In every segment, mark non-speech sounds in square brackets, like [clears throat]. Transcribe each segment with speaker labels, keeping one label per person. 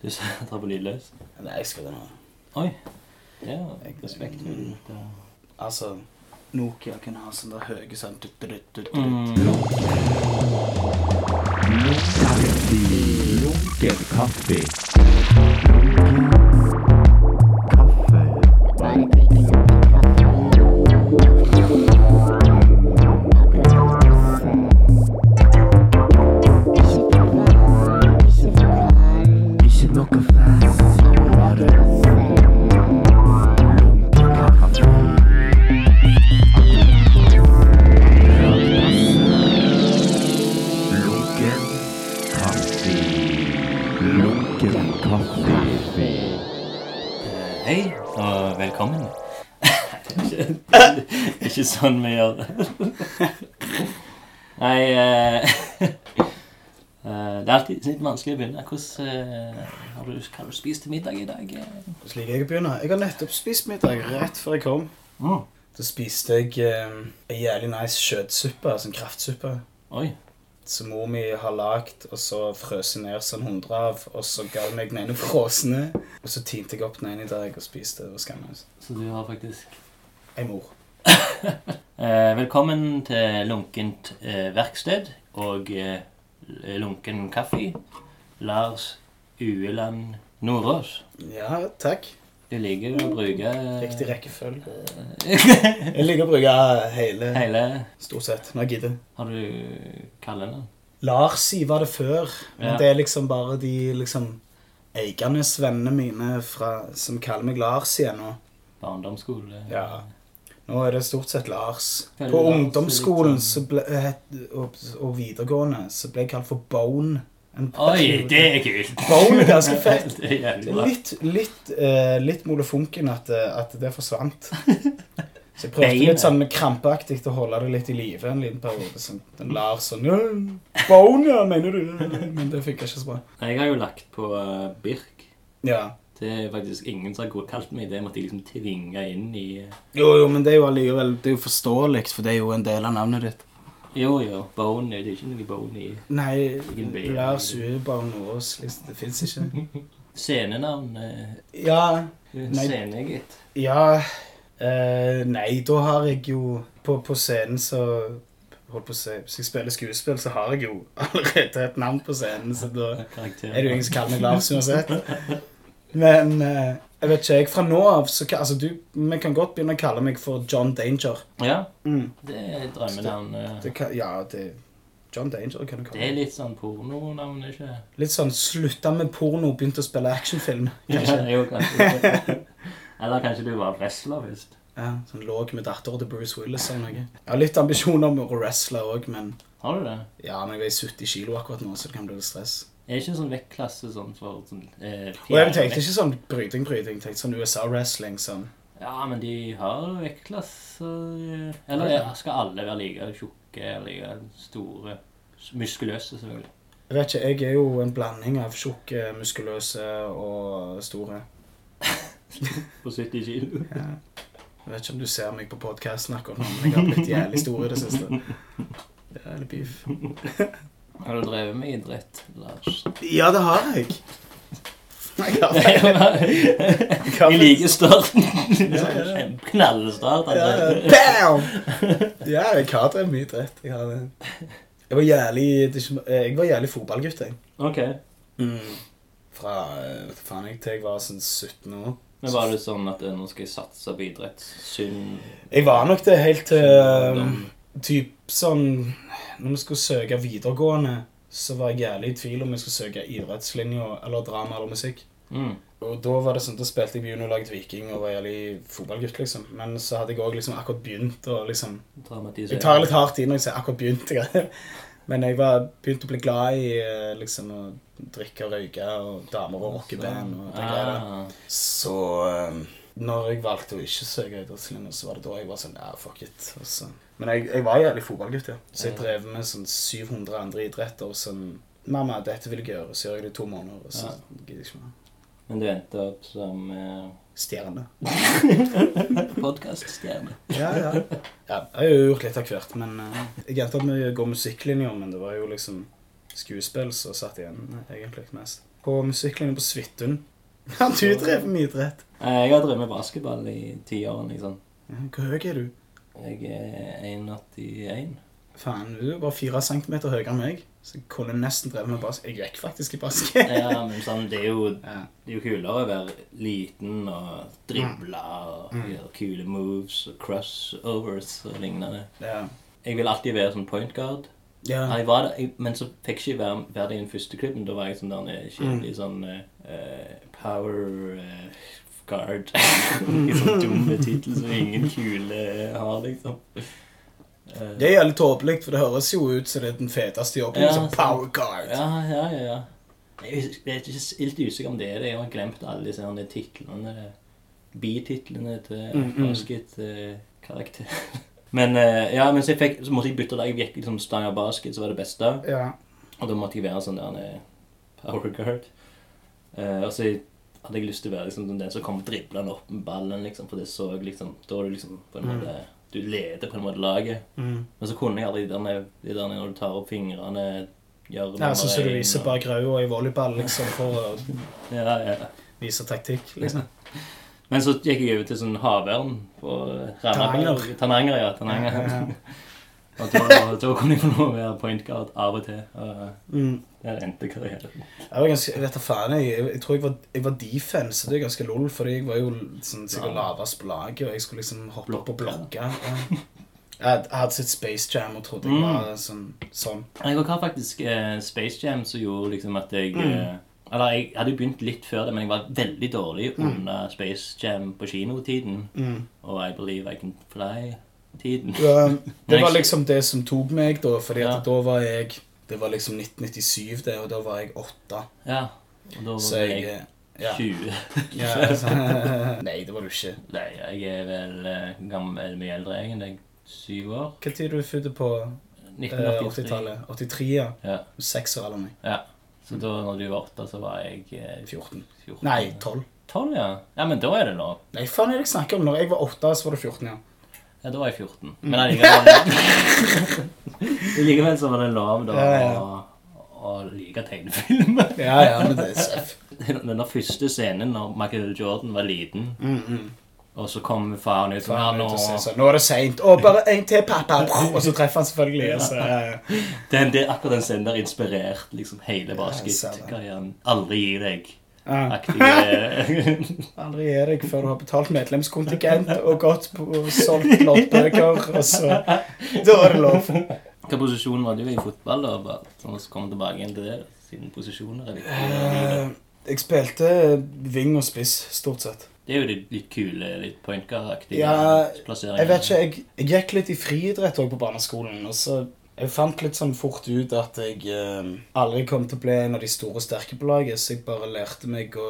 Speaker 1: Du [laughs] setter på lydløs.
Speaker 2: Men jeg elsker det nå.
Speaker 1: Oi. Ja, Mm. respekt.
Speaker 2: Altså, Nokia kunne ha sånn der høye sånn dutt, dutt, dutt, dutt.
Speaker 1: Mm.
Speaker 3: Lunken kaffe. Ikke noe fast, bare lunken kaffe. Lunken kaffe. Lunken kaffe.
Speaker 1: Hei, og [laughs] velkommen. ikke, ikke sånn vi [laughs] gjør det. Nei eh, [laughs] eh, Det er alltid litt vanskelig å begynne. Hvordan eh, har du, hva har du spist til middag i dag?
Speaker 2: Slik jeg begynner. Jeg har nettopp spist middag rett før jeg kom.
Speaker 1: Mm.
Speaker 2: Da spiste jeg eh, en jævlig nice kjøttsuppe, sånn kraftsuppe,
Speaker 1: Oi.
Speaker 2: som mor mi har lagd, og så frøs jeg ned sånn 100 av, og så ga hun meg den ene frosne, og så tinte jeg opp den ene i dag og spiste. Det var skamløst.
Speaker 1: Så du har faktisk
Speaker 2: Ei mor.
Speaker 1: Eh, velkommen til Lunkent eh, verksted og eh, Lunken kaffe. Lars Ueland Nordås.
Speaker 2: Ja, takk.
Speaker 1: Du liker å bruke eh,
Speaker 2: Riktig rekkefølge. Jeg liker å bruke hele,
Speaker 1: [laughs] hele
Speaker 2: stort sett, når jeg gidder.
Speaker 1: Har du kallenavn?
Speaker 2: Larsi var det før, men
Speaker 1: Ja.
Speaker 2: det er liksom bare de liksom eigernes vennene mine fra, som kaller meg Lars igjen nå.
Speaker 1: Barndomsskole?
Speaker 2: Ja. Nå er det stort sett Lars.
Speaker 1: Føler
Speaker 2: På
Speaker 1: Lars er litt
Speaker 2: ungdomsskolen
Speaker 1: sånn-
Speaker 2: så ble, eh, het- og, og videregående så ble jeg kalt for Bone. En
Speaker 1: Oi,
Speaker 2: periode.
Speaker 1: det er kult!
Speaker 2: Bone er ganske
Speaker 1: [laughs]
Speaker 2: fett.
Speaker 1: det er jævlig bra.
Speaker 2: Litt, litt, eh, litt molefonken at, eh, at det forsvant. Så jeg prøvde
Speaker 1: Bane.
Speaker 2: litt sånn krampaktig å holde det litt i live en liten periode. Sånn, den Lars sånn «Ja, Bone, ja, mener du? Men det funka ikke så bra.
Speaker 1: Jeg har jo lagt på eh, Birk.
Speaker 2: Ja.
Speaker 1: Det er faktisk ingen som har kalt meg det. Jeg måtte jeg liksom tvinge inn i eh,
Speaker 2: Jo, jo, men det er jo allikevel det er jo forståelig, for det er jo en del av navnet ditt.
Speaker 1: Jo, jo. Bone. Det er ikke noe bone i
Speaker 2: Nei,
Speaker 1: Ingen B.
Speaker 2: Lars Ue bare noe oss, liksom. Det fins ikke.
Speaker 1: Scenenavn. eh,
Speaker 2: Ja, Nei.
Speaker 1: Scene, gitt.
Speaker 2: ja eh, Nei, da har jeg jo På, på scenen så Holdt på å si Hvis jeg spiller skuespill, så har jeg jo allerede et navn på scenen, så da
Speaker 1: Karakter.
Speaker 2: er det jo ingen som kaller meg Lars uansett. Men eh, jeg vet ikke, jeg fra nå av så ka- Altså, du Vi kan godt begynne å kalle meg for John Danger.
Speaker 1: Ja,
Speaker 2: Mm.
Speaker 1: det er drømmenavnet.
Speaker 2: Det kan, ja, det John Danger kan du kalle
Speaker 1: Det er litt sånn pornonavn, ikke
Speaker 2: Litt sånn slutta med porno, begynte å spille actionfilm.
Speaker 1: Ja,
Speaker 2: Kanskje.
Speaker 1: jo, kanskje. [laughs] Eller kanskje du var wrestler først.
Speaker 2: Ja, sånn Lå med datteren til Bruce Willis eller noe. Jeg har litt ambisjoner om å wrestle òg, men
Speaker 1: Har du det?
Speaker 2: ja, men jeg veier 70 kilo akkurat nå, så det kan bli litt stress.
Speaker 1: Er ikke sånn vektklasse sånn for sånn eh,
Speaker 2: Og jeg tenkte ikke sånn bryting-bryting, jeg tenkte sånn USA-wrestling sånn.
Speaker 1: Ja, men de har vektklasser eh, Eller eh, skal alle være like tjukke, like store, s- muskuløse, selvfølgelig.
Speaker 2: Jeg vet ikke, jeg er jo en blanding av tjukke, muskuløse og store.
Speaker 1: På 70 kilo.
Speaker 2: Jeg vet ikke om du ser meg på podkasten akkurat nå, men jeg har blitt jævlig stor i det siste. Jævlig beef.
Speaker 1: Har du drevet med idrett,
Speaker 2: [laughs]
Speaker 1: Lars? [laughs]
Speaker 2: Ja, det har jeg. Jeg har
Speaker 1: I
Speaker 2: har-
Speaker 1: like starten.
Speaker 2: Ja, ja, ja.
Speaker 1: Knallstart.
Speaker 2: Ja,
Speaker 1: Altså.
Speaker 2: ja. Bam! Ja, jeg har drevet mye dritt. Jeg har det. Jeg var jævlig, det er ikke- jeg var jævlig fotballgutt, jeg.
Speaker 1: Ok.
Speaker 2: Fra eh, vet du faen jeg, til jeg var sånn 17 år.
Speaker 1: Men var det sånn at eh, nå skal jeg satse på idrett? Synd
Speaker 2: Jeg var nok det helt til eh, typ sånn Når vi skulle søke videregående, så var jeg jævlig i tvil om jeg skulle søke idrettslinja eller drama eller musikk.
Speaker 1: mm.
Speaker 2: Og da var det sånn, da spilte jeg på juniorlaget Viking og var jævlig fotballgutt, liksom. Men så hadde jeg òg liksom akkurat begynt å liksom
Speaker 1: Dramatisere.
Speaker 2: Jeg tar litt hardt i når jeg sier akkurat [laughs] begynte. Men jeg var begynt å bli glad i eh, liksom, å drikke og røyke og damer og rockeband. og det greia der.
Speaker 1: Ah.
Speaker 2: Så eh, når jeg valgte å ikke søke idrettslinja, så var det da jeg var sånn Ja, fuck it. Og så. Men jeg, jeg var jævlig fotballgutt, ja. Så jeg drev med sånn 700 andre idretter og sånn Mamma, dette vil jeg gjøre. Så gjør jeg det i to måneder, og så
Speaker 1: Ja.
Speaker 2: gidder jeg ikke mer.
Speaker 1: Men du endte opp som eh,
Speaker 2: Stjerne.
Speaker 1: podkaststjerne.
Speaker 2: Ja, ja. [laughs] ja, jeg har jo gjort litt av hvert, men eh, jeg endte opp med å gå musikklinjer, men det var jo liksom skuespill som satt igjen eh, egentlig mest. på musikklinjen på Svithun. [laughs] Har du drevet med idrett?
Speaker 1: Eh, Jeg har drevet med basketball i ti år. Liksom.
Speaker 2: Ja, Hvor høy er du?
Speaker 1: Jeg er 1,81.
Speaker 2: Faen, du er bare fire centimeter høyere enn meg. Så jeg kunne nesten drevet med basket. Jeg gikk faktisk i basket.
Speaker 1: Ja, men sånn, det, er jo,
Speaker 2: [laughs] Ja.
Speaker 1: det er jo kulere å være liten og drible og
Speaker 2: Mm.
Speaker 1: gjøre kule moves og crossovers og lignende.
Speaker 2: Ja.
Speaker 1: Jeg vil alltid være sånn point guard.
Speaker 2: Ja.
Speaker 1: Nei, jeg var der, jeg, men så fikk jeg ikke være, være det i den første klubben. Da var jeg sånn der
Speaker 2: Mm.
Speaker 1: en skikkelig sånn eh, power eh,
Speaker 2: [laughs]
Speaker 1: guard. I sånn dumme tittel som ingen kule har, liksom. Eh,
Speaker 2: Det er jævlig tåpelig, for det høres jo ut som det er den feteste jobben.
Speaker 1: Ja,
Speaker 2: som
Speaker 1: sant.
Speaker 2: power guard.
Speaker 1: ja, ja, ja, ja. Jeg er ikke- jeg er ikke helt usikker om det er det. Jeg har glemt alle disse her titlene. eh, Bititlene til
Speaker 2: Mm, mm.
Speaker 1: basketkarakter. [laughs] Men eh, ja, men så, jeg fikk, så måtte jeg bytte lag. Jeg gikk liksom Stavanger Basket, som var det beste.
Speaker 2: Ja.
Speaker 1: Og da måtte jeg være sånn der en power guard. Eh, og så hadde jeg lyst til å være liksom, den som kom driblende opp med ballen, liksom, for det så jeg liksom Da er du liksom på en
Speaker 2: Mm.
Speaker 1: måte Du leder på en måte laget.
Speaker 2: Mm.
Speaker 1: Men så kunne jeg aldri de der, de der når du tar opp fingrene gjør
Speaker 2: Ja, sånn som du
Speaker 1: en,
Speaker 2: viser
Speaker 1: og-
Speaker 2: bare graua i volleyball, liksom, for å
Speaker 1: Ja, ja.
Speaker 2: vise taktikk,
Speaker 1: [laughs]
Speaker 2: liksom.
Speaker 1: Men så gikk jeg over til sånn havørn på Randaberg.
Speaker 2: Tananger.
Speaker 1: Tananger, ja. Tananger.
Speaker 2: Ja, ja, ja.
Speaker 1: [laughs] og da, da kunne jeg få lov å være point guard av og til. Og
Speaker 2: Mm.
Speaker 1: der endte karrieren.
Speaker 2: Jeg var ganske, jeg vet da faen, jeg, jeg tror jeg var, jeg var defense, det er ganske lol, fordi jeg var jo sånn, sikkert
Speaker 1: Ja.
Speaker 2: lavest på laget, og jeg skulle liksom hoppe opp og
Speaker 1: Blokke.
Speaker 2: blokke. Ja. Jeg had- jeg hadde sett Space Jam og trodde jeg
Speaker 1: Mm.
Speaker 2: var sånn, sånn.
Speaker 1: Jeg har faktisk eh, Space Jam som gjorde liksom at jeg
Speaker 2: Mm.
Speaker 1: eh, Eller jeg hadde jo begynt litt før det, men jeg var veldig dårlig
Speaker 2: Mm.
Speaker 1: under Space Jam på kinotiden. Og I Believe I Can Fly-tiden.
Speaker 2: Ja, det
Speaker 1: jeg-
Speaker 2: var liksom det som tok meg da, fordi
Speaker 1: Ja.
Speaker 2: at da var jeg, det var liksom 1997 det, og da var jeg 8.
Speaker 1: Ja. Og da
Speaker 2: Så
Speaker 1: var
Speaker 2: jeg, eh,
Speaker 1: jeg
Speaker 2: ja.
Speaker 1: 20.
Speaker 2: [laughs] ja så, [laughs] nei, det var du ikke.
Speaker 1: [laughs] Nei, jeg er vel eh, gammel, mye eldre jeg enn deg. Syv år.
Speaker 2: Hva tid er du fødte på eh,
Speaker 1: 1983.
Speaker 2: 80-tallet? 83, ja.
Speaker 1: Ja.
Speaker 2: Seks år eller nei.
Speaker 1: ja. Så da når du var åtte, så var jeg eh,
Speaker 2: 14.
Speaker 1: 14.
Speaker 2: Nei, 12.
Speaker 1: Tolv, ja. Ja, men da er det lov.
Speaker 2: Nei, faen er det jeg snakker om? Når jeg var 8, så var det 14, ja.
Speaker 1: Ja, da var jeg 14. Men allikevel [laughs] Likevel så var det lov, da,
Speaker 2: Mm. Ja, ja.
Speaker 1: å, å like tegnefilmer. [laughs]
Speaker 2: Ja, ja, men det er seff.
Speaker 1: Den der første scenen når Michael Jordan var liten,
Speaker 2: Mm, mm.
Speaker 1: og så kom faren ut
Speaker 2: Så
Speaker 1: sånn
Speaker 2: han
Speaker 1: «Ja,
Speaker 2: er ute og
Speaker 1: [laughs]
Speaker 2: sier
Speaker 1: nå,
Speaker 2: sånn, Nå er det seint. Å, bare en til, pappa! Og så treffer han selvfølgelig.
Speaker 1: [laughs]
Speaker 2: Og så, ja, ja.
Speaker 1: den, det, Akkurat den scenen der inspirert liksom hele
Speaker 2: sånn. jeg ser det.
Speaker 1: basketkarrieren. Aldri gi deg.
Speaker 2: Ja.
Speaker 1: Aktive
Speaker 2: [laughs] Aldri gi deg før du har betalt medlemskontingent og gått på og solgt loddbøker, og så [laughs] Da er det lov.
Speaker 1: Hvilken posisjon var du i fotball? da? Bare sånn å komme tilbake igjen til det, siden posisjoner er viktige.
Speaker 2: Eh, Jeg spilte ving og spiss, stort sett.
Speaker 1: Det er jo de litt kule, litt pointgar-aktige
Speaker 2: Ja,
Speaker 1: plasseringene.
Speaker 2: Jeg vet ikke, jeg, jeg gikk litt i friidrett også på barneskolen, og så jeg fant litt sånn fort ut at jeg eh, aldri kom til å bli en av de store sterke på laget, så jeg bare lærte meg å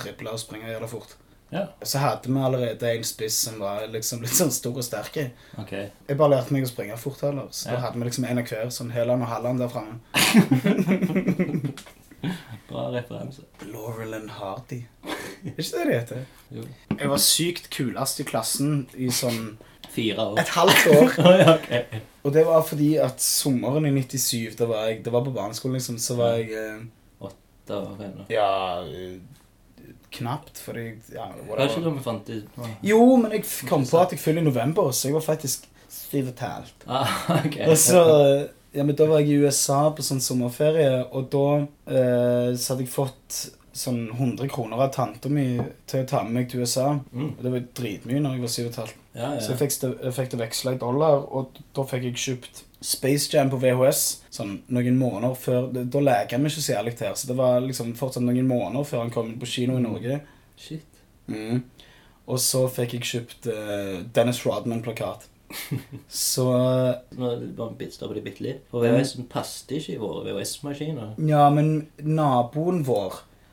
Speaker 2: drible og springe og gjøre det fort.
Speaker 1: Ja,
Speaker 2: Så hadde vi allerede en spiss som var liksom litt sånn stor og sterk. Jeg
Speaker 1: ok.
Speaker 2: bare lærte meg å springe fort heller, så
Speaker 1: Ja.
Speaker 2: da hadde vi liksom en av hver, sånn Heland og Halland der framme.
Speaker 1: Bra referanse.
Speaker 2: Laurel and Hardy. Er ikke det det heter?
Speaker 1: Jo.
Speaker 2: Jeg var sykt kulest i klassen i sånn
Speaker 1: Fire [laughs] år.
Speaker 2: et halvt år.
Speaker 1: ja, ok.
Speaker 2: Og det var fordi at sommeren i 97, da var jeg, det var på barneskolen liksom, så var jeg eh,
Speaker 1: Da var det nå.
Speaker 2: Ja eh, Knapt, fordi jeg- ja,
Speaker 1: Var ikke
Speaker 2: whatever.
Speaker 1: da vi fant ut
Speaker 2: Jo, men jeg f- kom på at jeg fyller i november, så jeg var faktisk stiv og tælt.
Speaker 1: ah, [laughs] ok.
Speaker 2: Og så eh, Ja, men da var jeg i USA på sånn sommerferie, og da eh, så hadde jeg fått sånn 100 kroner av tanta mi til å ta med meg til USA.
Speaker 1: Mm.
Speaker 2: Og det var dritmye når jeg var syv og et halvt.
Speaker 1: Ja, ja.
Speaker 2: Så jeg fikk, det- jeg fikk det veksla i dollar, og da fikk jeg kjøpt Space Jam på VHS sånn noen måneder før Da leker vi ikke så jævlig her, så det var liksom fortsatt noen måneder før han kom inn på kino
Speaker 1: Mm.
Speaker 2: i Norge. Mm.
Speaker 1: Shit.
Speaker 2: Og så fikk jeg kjøpt eh, Dennis
Speaker 1: [laughs]
Speaker 2: Rodman-plakat. Så
Speaker 1: Nå er det bare bitstopper det bitte litt. For
Speaker 2: Mm.
Speaker 1: VHS-en passet ikke i våre VHS-maskiner.
Speaker 2: Ja, men naboen vår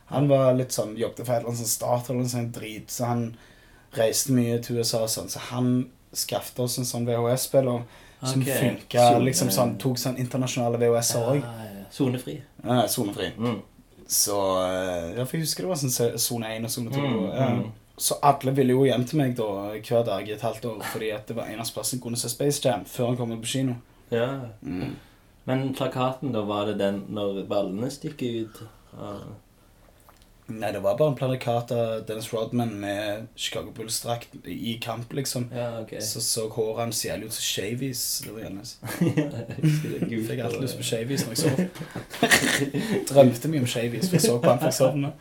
Speaker 2: Han var litt sånn, jobbet for et eller annet sånn start eller noe sånn drit, så han reiste mye til USA og sånn, så han skaffet oss en sånn VHS-spiller som
Speaker 1: Ok.
Speaker 2: funka
Speaker 1: Sone-
Speaker 2: liksom sånn, tok sånn internasjonale VHS-er òg.
Speaker 1: Ja, Ah, ja. Sonefri.
Speaker 2: Ja. Sonefri.
Speaker 1: Mm.
Speaker 2: Så eh, ja, for jeg husker det var sånn se- sone 1 og sone 2.
Speaker 1: Mm,
Speaker 2: Ja.
Speaker 1: mm.
Speaker 2: Så alle ville jo hjem til meg da hver dag i et halvt år, fordi at det var eneste plassen jeg kunne se Space Jam før han kom ut på kino.
Speaker 1: Ja.
Speaker 2: Mm.
Speaker 1: Men plakaten, da var det den når ballene stikker ut? av-
Speaker 2: Nei, det var bare en plakat av Dennis Rodman med Chicago Bulls-drakt i kamp, liksom.
Speaker 1: Ja, ok. [laughs]
Speaker 2: Så så håret hans jævlig ut som shavies. Det var jævlig nice.
Speaker 1: Jeg
Speaker 2: Fikk alltid lyst på shavies når jeg sov. [laughs] Drømte mye om shavies, for jeg så på han før jeg sovna.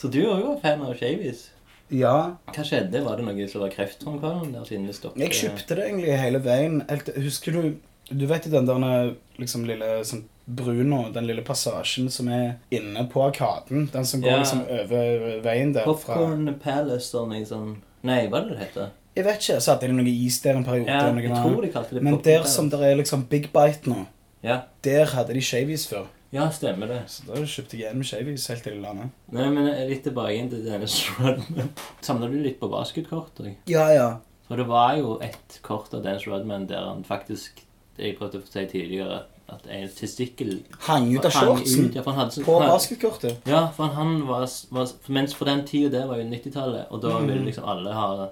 Speaker 1: Så du òg var fan av Shavies?
Speaker 2: Ja,
Speaker 1: Hva skjedde? Var det noe som var kreftframkallende der siden det stoppet?
Speaker 2: jeg kjøpte det egentlig hele veien. Helt til- Husker du Du vet den der liksom, lille sånn, Bruno, den lille passasjen som er inne på Arkaden? Den som går
Speaker 1: Ja.
Speaker 2: liksom over veien der fra
Speaker 1: Popcorn Palace og noe sånn Nei, hva er det det heter?
Speaker 2: Jeg vet ikke, så hadde de noe is der en periode.
Speaker 1: Ja,
Speaker 2: eller noe
Speaker 1: jeg
Speaker 2: annet.
Speaker 1: tror de kalte det
Speaker 2: Men
Speaker 1: Popcorn
Speaker 2: der
Speaker 1: Palace.
Speaker 2: som det er liksom Big Bite nå,
Speaker 1: Ja.
Speaker 2: der hadde de shavies før.
Speaker 1: ja, stemmer det.
Speaker 2: Så da kjøpte jeg en med shavies helt til landet.
Speaker 1: Nei, men litt tilbake inn til denne [laughs] Rodman. Samla du litt på basketkort òg?
Speaker 2: Ja, ja.
Speaker 1: For det var jo et kort av Dennis Rodman der han faktisk Jeg prøvde å si tidligere at en testikkel
Speaker 2: Hang ut av
Speaker 1: hang
Speaker 2: shortsen
Speaker 1: ut, ja, for han hadde sånn-
Speaker 2: på
Speaker 1: han-
Speaker 2: basketkortet.
Speaker 1: Ja, for han var, var for Mens for den tida der var jo 90-tallet, og da ville liksom alle ha
Speaker 2: Mm.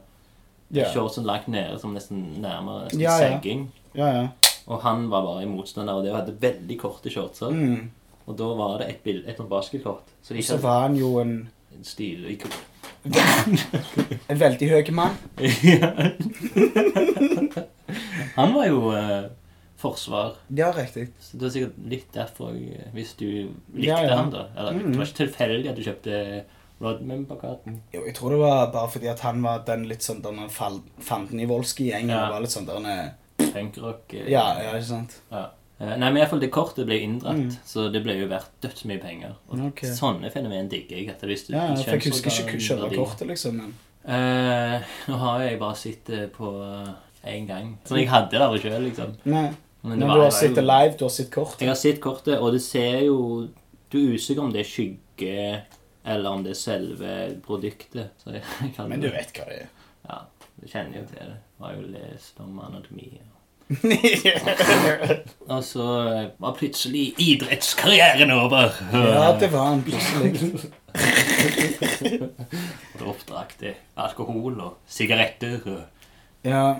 Speaker 2: Ja,
Speaker 1: shortsen lagt nede som nesten nærmere nesten
Speaker 2: Ja, ja.
Speaker 1: sagging.
Speaker 2: ja. ja.
Speaker 1: Og han var bare en motstander av det og hadde veldig korte shortser.
Speaker 2: Mm.
Speaker 1: Og da var det et, bild, et sånt basketkort. Så de
Speaker 2: Så
Speaker 1: hadde
Speaker 2: var han jo en,
Speaker 1: en stilig kort.
Speaker 2: en veldig høy mann.
Speaker 1: Ja. [laughs] han var jo eh, forsvar.
Speaker 2: Ja, riktig.
Speaker 1: Så det er sikkert litt derfor jeg, hvis du likte
Speaker 2: Ja, ja.
Speaker 1: han, da. Eller,
Speaker 2: Mm.
Speaker 1: Det var ikke tilfeldig at du kjøpte Rodman-plakaten.
Speaker 2: Jo, jeg tror det var bare fordi at han var den litt sånn denne fal- fanden i Volsky-gjengen.
Speaker 1: Ja.
Speaker 2: og var litt sånn denne...
Speaker 1: Punkrock. eh,
Speaker 2: Ja, ja, ikke sant?
Speaker 1: Eh, Nei, men i hvert fall det kortet ble inndratt,
Speaker 2: Mm.
Speaker 1: så det ble jo verdt dødsmye penger. Og
Speaker 2: Ok.
Speaker 1: Sånne fenomen digger jeg. at hvis du
Speaker 2: Ja, ja, for jeg
Speaker 1: kjønnsorgan-
Speaker 2: husker ikke kjøpte
Speaker 1: verdi-
Speaker 2: kortet, liksom. Men...
Speaker 1: Eh, nå har jeg bare sett det på én gang. Som jeg hadde der sjøl, liksom.
Speaker 2: Nei,
Speaker 1: Men, det var-
Speaker 2: men du
Speaker 1: det
Speaker 2: har
Speaker 1: var
Speaker 2: sett
Speaker 1: jo-
Speaker 2: det live, du har sett kortet.
Speaker 1: Jeg har sett kortet, og det ser jo Du er usikker om det er skygge, eller om det er selve produktet. Så jeg [laughs] kan
Speaker 2: Men du vet hva det er.
Speaker 1: Ja, jeg kjenner jo til det. Jeg har jo lest om
Speaker 2: [laughs]
Speaker 1: anatomi. Og så eh, var plutselig idrettskarrieren over. [laughs]
Speaker 2: ja, det var han plutselig.
Speaker 1: Og Da oppdrakk det alkohol og sigaretter og
Speaker 2: Ja,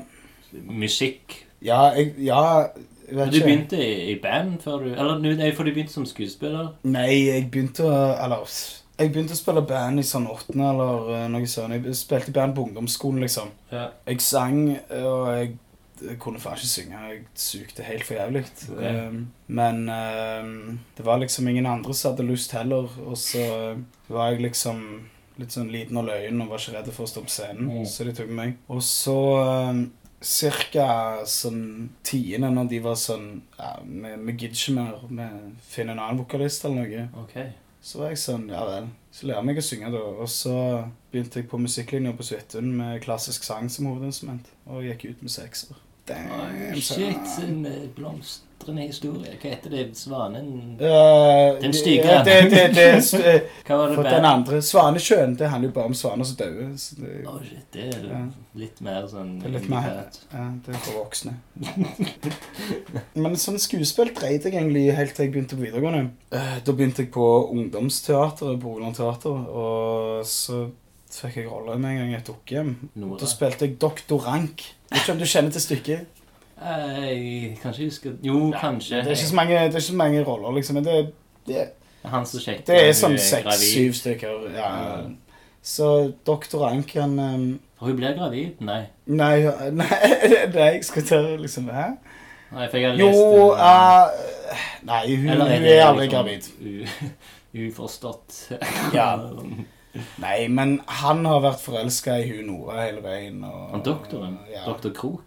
Speaker 1: musikk.
Speaker 2: Ja, jeg ja, jeg
Speaker 1: Men
Speaker 2: vet
Speaker 1: du
Speaker 2: ikke.
Speaker 1: begynte i i band før du Eller nu- nei, for du begynte som skuespiller.
Speaker 2: Nei, jeg begynte å Eller pff, Jeg begynte å spille band i sånn åttende eller eh, noe sånt. Jeg spilte i band på ungdomsskolen, liksom.
Speaker 1: Ja.
Speaker 2: Jeg sang, og jeg jeg kunne faen ikke synge. Jeg sugde helt for jævlig.
Speaker 1: Ja.
Speaker 2: Um, men um, det var liksom ingen andre som hadde lyst heller, og så var jeg liksom litt sånn liten og løyen og var ikke redd for å stå på scenen,
Speaker 1: Mm.
Speaker 2: så de tok meg. Og så um, cirka sånn tiende, når de var sånn ja, Vi vi gidder ikke mer, vi finner en annen vokalist eller noe.
Speaker 1: Ok.
Speaker 2: Så var jeg sånn, ja vel. Så lærte jeg meg å synge da, og så begynte jeg på musikklinja på Svettun med klassisk sang som hovedinstrument, og gikk ut med sekser. Damn,
Speaker 1: Shit,
Speaker 2: son.
Speaker 1: en eh, blomstrende historie. Hva heter det? Svanen
Speaker 2: Eh,
Speaker 1: Den stygge.
Speaker 2: Ja, det, det, det, det,
Speaker 1: Hva var det
Speaker 2: for den andre, Svanesjøen, det handler jo bare om svaner som døde. Så det,
Speaker 1: Å, shit, det er
Speaker 2: Ja.
Speaker 1: litt mer sånn
Speaker 2: det er litt mer ja, det er for voksne. Men sånn skuespill dreide jeg egentlig helt til jeg begynte på videregående. Eh, Da begynte jeg på ungdomsteateret på Rogaland Teater, og så fikk jeg rolle med en gang i et dukkehjem. Da
Speaker 1: Nora.
Speaker 2: spilte jeg Doktor Rank. Vet ikke om du kjenner til stykket?
Speaker 1: Jeg kan ikke huske Jo, kanskje.
Speaker 2: Det er ikke så mange, det er ikke så mange roller, liksom. Men det, det,
Speaker 1: Han som sjekker
Speaker 2: det er
Speaker 1: om
Speaker 2: sånn
Speaker 1: hun eh, gravid.
Speaker 2: seks-syv stykker. Ja. Så Doktor Rank, han eh,
Speaker 1: For hun blir gravid? Nei.
Speaker 2: Nei, [laughs] nei, nei, jeg skal ta liksom Hæ?
Speaker 1: Nei, for jeg har
Speaker 2: Jo
Speaker 1: lest om-
Speaker 2: eh, Nei, hun,
Speaker 1: Eller
Speaker 2: hun
Speaker 1: det
Speaker 2: er aldri
Speaker 1: liksom
Speaker 2: gravid.
Speaker 1: u- [laughs] Uforstått. [laughs]
Speaker 2: Ja. [laughs] Nei, men han har vært forelska i hun Nora hele veien. Og,
Speaker 1: Han doktoren.
Speaker 2: Ja.
Speaker 1: Doktor Krok.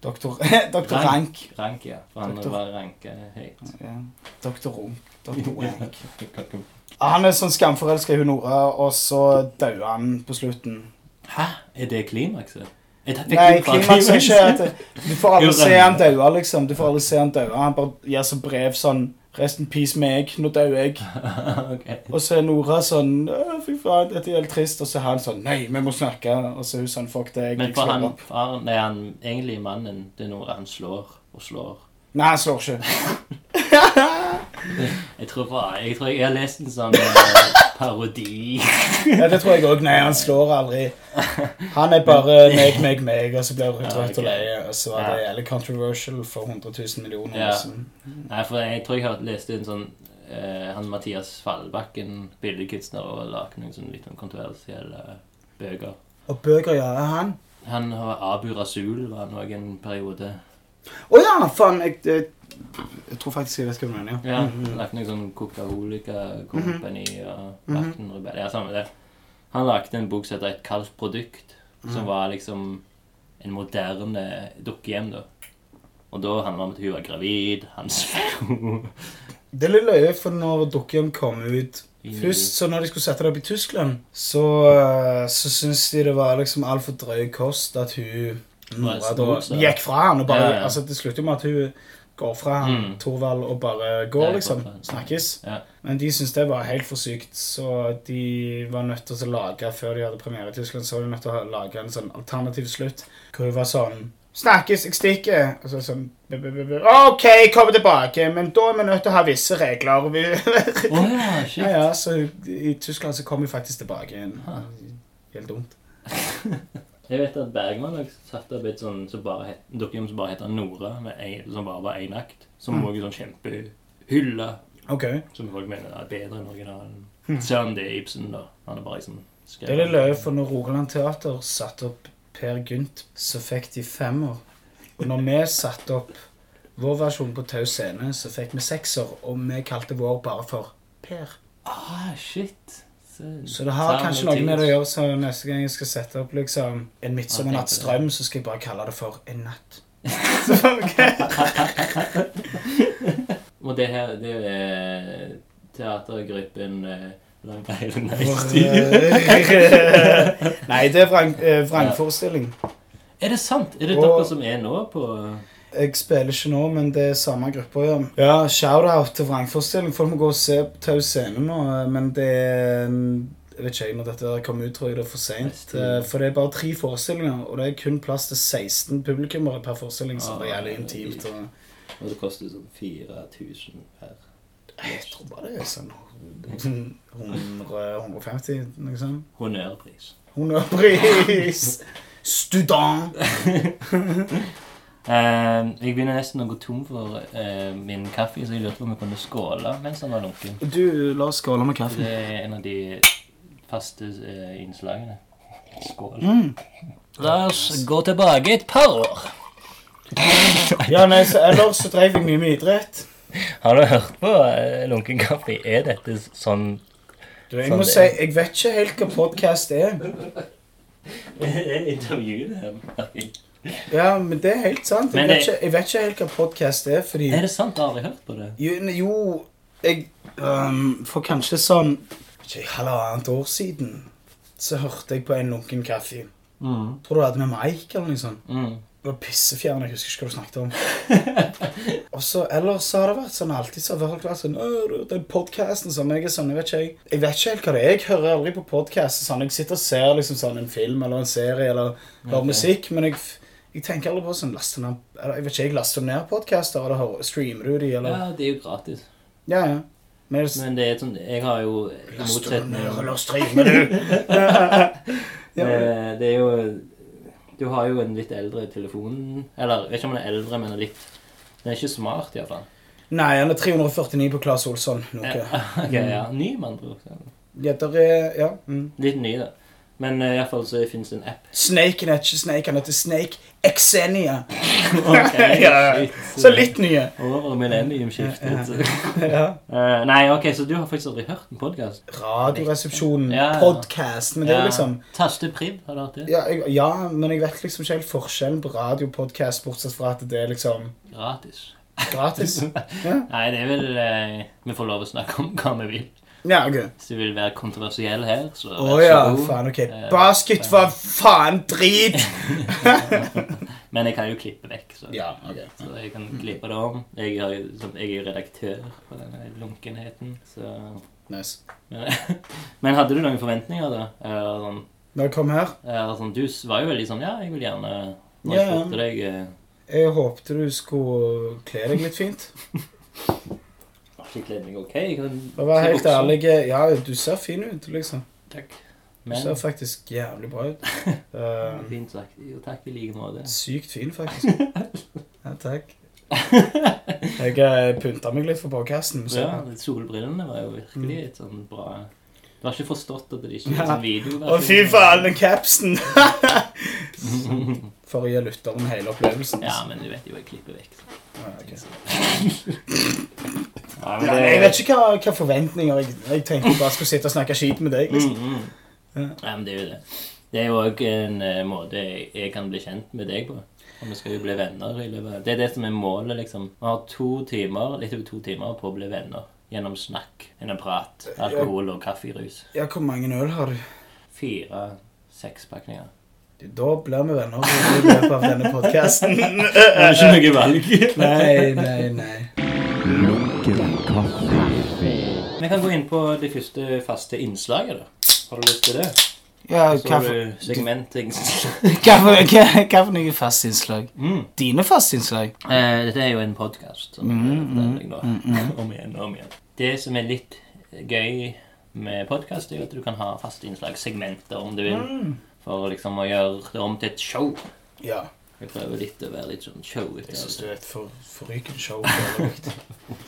Speaker 2: Doktor, [laughs] doktor Rank.
Speaker 1: Rank, ja. For han
Speaker 2: Doktor-
Speaker 1: var ranka høyt.
Speaker 2: Ja. Doktor Runk. Doktor Rank. Han er sånn skamforelska i hun Nora, og så dauer han på slutten.
Speaker 1: Hæ? Er det klimakset? Er det- fikk
Speaker 2: Nei,
Speaker 1: du fra
Speaker 2: klimaks
Speaker 1: [laughs]
Speaker 2: er ikke at Du får aldri
Speaker 1: Jo,
Speaker 2: se
Speaker 1: den-
Speaker 2: han daue, liksom. Du får aldri se han daue. Han bare gir så brev sånn Rest in peace meg, nå dauer jeg.
Speaker 1: [laughs] Ok.
Speaker 2: Og så er Nora sånn «Åh, Fy faen, dette er helt trist. Og så er han sånn Nei, vi må snakke. Og så er hun sånn Fuck deg.
Speaker 1: Men
Speaker 2: Jeg
Speaker 1: for
Speaker 2: slår
Speaker 1: han,
Speaker 2: opp.
Speaker 1: faren, nei, han egentlig mannen, det er noe han slår og slår.
Speaker 2: Nei, han slår ikke.
Speaker 1: Jeg tror bare, jeg tror jeg har lest en sånn eh,
Speaker 2: [laughs]
Speaker 1: parodi.
Speaker 2: Ja, det tror jeg òg. Nei, han slår aldri. Han er bare meg, meg, meg, og så blir hun
Speaker 1: Ja,
Speaker 2: trøtt
Speaker 1: ok.
Speaker 2: og lei. Og så var det
Speaker 1: Ja.
Speaker 2: jævlig controversial for 100 000 millioner.
Speaker 1: Ja.
Speaker 2: år siden.
Speaker 1: Nei, for jeg tror jeg har lest en sånn eh, han Mathias Fallbakken, billedkunstner, og lagde noen sånne litt sånn kontroversielle bøker.
Speaker 2: Og bøker, ja. Er han?
Speaker 1: Han har Abu Rasul var han òg en periode.
Speaker 2: Å ja, faen! Jeg, jeg, jeg tror faktisk jeg vet hva du mener.
Speaker 1: Ja,
Speaker 2: Mhm.
Speaker 1: Lagt noe sånn Coca-Cola
Speaker 2: Mm-hmm.
Speaker 1: Company og Barton Rebell. Ja, samme det. Han lagde en bok som heter Et kaldt produkt, som
Speaker 2: Mm-hmm.
Speaker 1: var liksom en moderne dukkehjem, da. Og da handla det om at hun var gravid, han [laughs] slo
Speaker 2: Det er litt løye, for når dukken kom ut
Speaker 1: I-
Speaker 2: Først så når de skulle sette det opp i Tyskland, så, eh, så syntes de det var liksom altfor drøy kost at hun
Speaker 1: Nei,
Speaker 2: Nora da
Speaker 1: snor seg.
Speaker 2: gikk fra han og bare
Speaker 1: Ja, ja.
Speaker 2: Altså, det slutter jo med at hun går fra han,
Speaker 1: Mm.
Speaker 2: Thorvald, og bare
Speaker 1: Ja,
Speaker 2: går,
Speaker 1: jeg
Speaker 2: liksom.
Speaker 1: går fra han.
Speaker 2: Snakkes.
Speaker 1: Ja.
Speaker 2: Men de syntes det var helt for sykt, så de var nødt til å lage før de hadde premiere i Tyskland, så var de nødt til å lage en sånn alternativ slutt, hvor det var sånn Snakkes, jeg stikker. Og så sånn b -b -b -b OK, kom tilbake, men da er vi nødt til å ha visse regler. Vi-
Speaker 1: Å ja, [laughs] shit.
Speaker 2: ja, ja, så i Tyskland så kom vi faktisk tilbake igjen.
Speaker 1: Ah.
Speaker 2: Helt dumt.
Speaker 1: Jeg vet at Bergman har satt opp et sånn som bare het, dukkehjem som bare heter Nora, med en, som bare var én akt.
Speaker 2: Mm.
Speaker 1: Som òg sånn kjempehylle.
Speaker 2: OK.
Speaker 1: Som folk mener er bedre enn originalen.
Speaker 2: Mm.
Speaker 1: Selv om det er Ibsen, da. Han er bare liksom
Speaker 2: Det er litt løye, for når Rogaland Teater satte opp Per Gynt, så fikk de femmer. Og når vi satte opp vår versjon på Tau Scene, så fikk vi sekser, og vi kalte vår bare for Per.
Speaker 1: Ah, shit. Så,
Speaker 2: Så det har kanskje noe med det å gjøre, så neste gang jeg skal sette opp liksom en midtsommernattsdrøm, så skal jeg bare kalle det for En natt. Så, ok.
Speaker 1: Og det her, det er eh, teatergruppen eh, Langt hele Nei-styret.
Speaker 2: [laughs] Nei, det er vrang, eh, vrangforestilling.
Speaker 1: Er det sant? Er det
Speaker 2: Og-
Speaker 1: dere som er nå på
Speaker 2: Jeg spiller ikke nå, men det er samme gruppa. Ja, ja shout-out til vrangforestilling. Folk må gå og se på Tau Scene nå, men det er Jeg vet ikke jeg, når dette her kommer ut, tror jeg det er for seint.
Speaker 1: Neste.
Speaker 2: For det er bare tre forestillinger, og det er kun plass til 16 publikummere per forestilling, så Ah, det er jævlig intimt. Og
Speaker 1: Og det koster sånn 4000 per.
Speaker 2: jeg tror bare det er sånn 100 150, noe sånt.
Speaker 1: Honnørpris.
Speaker 2: Honnørpris! Student!
Speaker 1: Eh, jeg begynner nesten å gå tom for eh, min kaffe, så jeg lurte på om jeg kunne skåle mens den var lunken.
Speaker 2: Du, la oss skåle med
Speaker 1: Det
Speaker 2: kaffen.
Speaker 1: er en av de faste eh, innslagene. Skål.
Speaker 2: Mm.
Speaker 1: La oss gå tilbake et par år.
Speaker 2: Ja, nei, så ellers så drev jeg mye med idrett.
Speaker 1: Har du hørt på eh, Lunken kaffe? Er dette
Speaker 2: [laughs]
Speaker 1: sånn
Speaker 2: Du, jeg må si, jeg vet ikke helt hva podkast er.
Speaker 1: Intervju, det.
Speaker 2: Ja, men det er helt sant. Jeg,
Speaker 1: Men det-
Speaker 2: vet, ikke, jeg vet ikke helt hva podkast er, fordi
Speaker 1: Er det sant? Har jeg hørt på det?
Speaker 2: Jo, ne- jo jeg ehm, For kanskje sånn ikke, halvannet år siden så hørte jeg på en lunken kaffe.
Speaker 1: Mm.
Speaker 2: Tror du det hadde med Mike eller noe sånt?
Speaker 1: Mm.
Speaker 2: Det var pissefjern, jeg husker ikke hva du snakket om. [laughs] Og så, Ellers så har det vært sånn alltid så har folk vært sånn «Åh, du, Den podkasten som jeg er sånn, jeg vet ikke jeg. Jeg vet ikke helt hva det er. Jeg hører aldri på podkast. Sånn. Jeg sitter og ser liksom sånn en film eller en serie eller hører
Speaker 1: Ok.
Speaker 2: musikk, men jeg, jeg tenker aldri på sånn laste ned, eller, Jeg vet ikke, jeg laster ned podkaster, eller hører, streamer du de, eller
Speaker 1: Ja, det er jo gratis.
Speaker 2: Ja, ja. Men jeg,
Speaker 1: Men det er et sånt Jeg har jo i
Speaker 2: laster du
Speaker 1: motsetning
Speaker 2: ned, eller streamer
Speaker 1: [laughs]
Speaker 2: du? [laughs] Ja, men-
Speaker 1: Eh, Det er jo Du har jo en litt eldre telefon Eller jeg vet ikke om den er eldre, men den er litt Den er ikke smart, iallfall.
Speaker 2: Nei, han er 349 på Claes Olsson. Noe.
Speaker 1: Ja. [laughs] ok, ja.
Speaker 2: Mm.
Speaker 1: Ny, med andre ord.
Speaker 2: Ja, der er, ja. Mm.
Speaker 1: Litt ny, da. Men uh, iallfall så fins det en
Speaker 2: [laughs]
Speaker 1: app.
Speaker 2: Snaken er ikke Snake, han heter Snake Exenia.
Speaker 1: Ok,
Speaker 2: Ja,
Speaker 1: [laughs]
Speaker 2: ja.
Speaker 1: shit.
Speaker 2: Så litt
Speaker 1: [laughs]
Speaker 2: nye.
Speaker 1: Over millenniumskiftet.
Speaker 2: Ja.
Speaker 1: Eh, nei, ok, så du har faktisk aldri hørt en podkast?
Speaker 2: Radioresepsjonen,
Speaker 1: Ja, ja.
Speaker 2: podcast, men det er liksom
Speaker 1: Taste Priv, har du hørt det?
Speaker 2: ja, jeg, ja, men jeg vet liksom ikke helt forskjellen på radio og podcast, bortsett fra at det er liksom
Speaker 1: Gratis. [laughs]
Speaker 2: gratis.
Speaker 1: Nei, det er vel eh, Vi får lov å snakke om hva vi vil.
Speaker 2: Ja, ok.
Speaker 1: Hvis du vil være kontroversiell her, så
Speaker 2: Å
Speaker 1: vær så
Speaker 2: ja,
Speaker 1: god.
Speaker 2: faen, ok.
Speaker 1: Eh,
Speaker 2: Basket var faen drit!
Speaker 1: [laughs] Men jeg kan jo klippe vekk, så,
Speaker 2: Ja, ok.
Speaker 1: så jeg kan klippe det om. Jeg, har, jo- som- jeg er jo redaktør for denne lunkenheten, så
Speaker 2: Nice.
Speaker 1: men, [laughs] men hadde du noen forventninger, da? Eller sånn,
Speaker 2: Velkommen her.
Speaker 1: eller sånn Du s- var jo veldig sånn Ja, jeg vil gjerne Når
Speaker 2: Ja,
Speaker 1: jeg
Speaker 2: ja.
Speaker 1: spurte deg eh,
Speaker 2: Jeg håpte du skulle kle deg litt fint.
Speaker 1: Har ikke kledd meg ok? Jeg kan
Speaker 2: For å være helt
Speaker 1: bukser.
Speaker 2: ærlig, ja, du ser fin ut, liksom.
Speaker 1: Takk.
Speaker 2: Du
Speaker 1: Men
Speaker 2: ser faktisk jævlig bra
Speaker 1: [laughs]
Speaker 2: ut. Eh,
Speaker 1: Fint sagt. Jo, takk i like måte. [laughs]
Speaker 2: Sykt fin, faktisk. Ja, takk. Jeg eh, pynta meg litt for podkasten.
Speaker 1: Ja, solbrillene var jo virkelig et sånn bra Du har ikke forstått at det ikke er
Speaker 2: Ja.
Speaker 1: sånn videoversjon?
Speaker 2: Å, fy faen, den capsen! [laughs] for å gi lytteren hele opplevelsen.
Speaker 1: Ja, men du vet jo, jeg klipper vekk. så-
Speaker 2: Ja, ok.
Speaker 1: Ja,
Speaker 2: Ja, jeg vet ikke hva, hva forventninger jeg, jeg tenkte jeg bare skulle sitte og snakke skit med deg. Liksom.
Speaker 1: Mm, mm. Ja, men det er jo det. Det er jo òg en eh, måte jeg, jeg kan bli kjent med deg på. Og vi skal jo bli venner i løpet av Det er det som er målet, liksom. Vi har to timer, litt over to timer på å bli venner. Gjennom snakk, gjennom prat, alkohol og kafferus.
Speaker 2: Ja, hvor mange øl har du?
Speaker 1: Fire sekspakninger.
Speaker 2: Da blir vi venner i løpet av denne
Speaker 1: [laughs]
Speaker 2: podkasten.
Speaker 1: Det
Speaker 2: eh,
Speaker 1: er ikke noe
Speaker 2: [laughs]
Speaker 1: valg.
Speaker 2: Nei, nei, nei.
Speaker 3: Lunken kaffe.
Speaker 1: Vi kan gå inn på det første faste innslaget, da. Har du lyst til det?
Speaker 2: Ja,
Speaker 1: Så har du
Speaker 2: [laughs]
Speaker 1: segmenting.
Speaker 2: for noen faste innslag?
Speaker 1: Mm.
Speaker 2: Dine faste innslag?
Speaker 1: Eh, dette er jo en podkast.
Speaker 2: Mm, mm,
Speaker 1: [laughs] Om igjen og om igjen. Det som er litt gøy med podkast, er jo at du kan ha faste innslagssegmenter om du vil.
Speaker 2: Mm.
Speaker 1: For liksom å gjøre det om til et show.
Speaker 2: Ja.
Speaker 1: Jeg prøver litt å være litt sånn showete.
Speaker 2: Jeg syns
Speaker 1: altså.
Speaker 2: du er et for, forrykende show. for øvrig.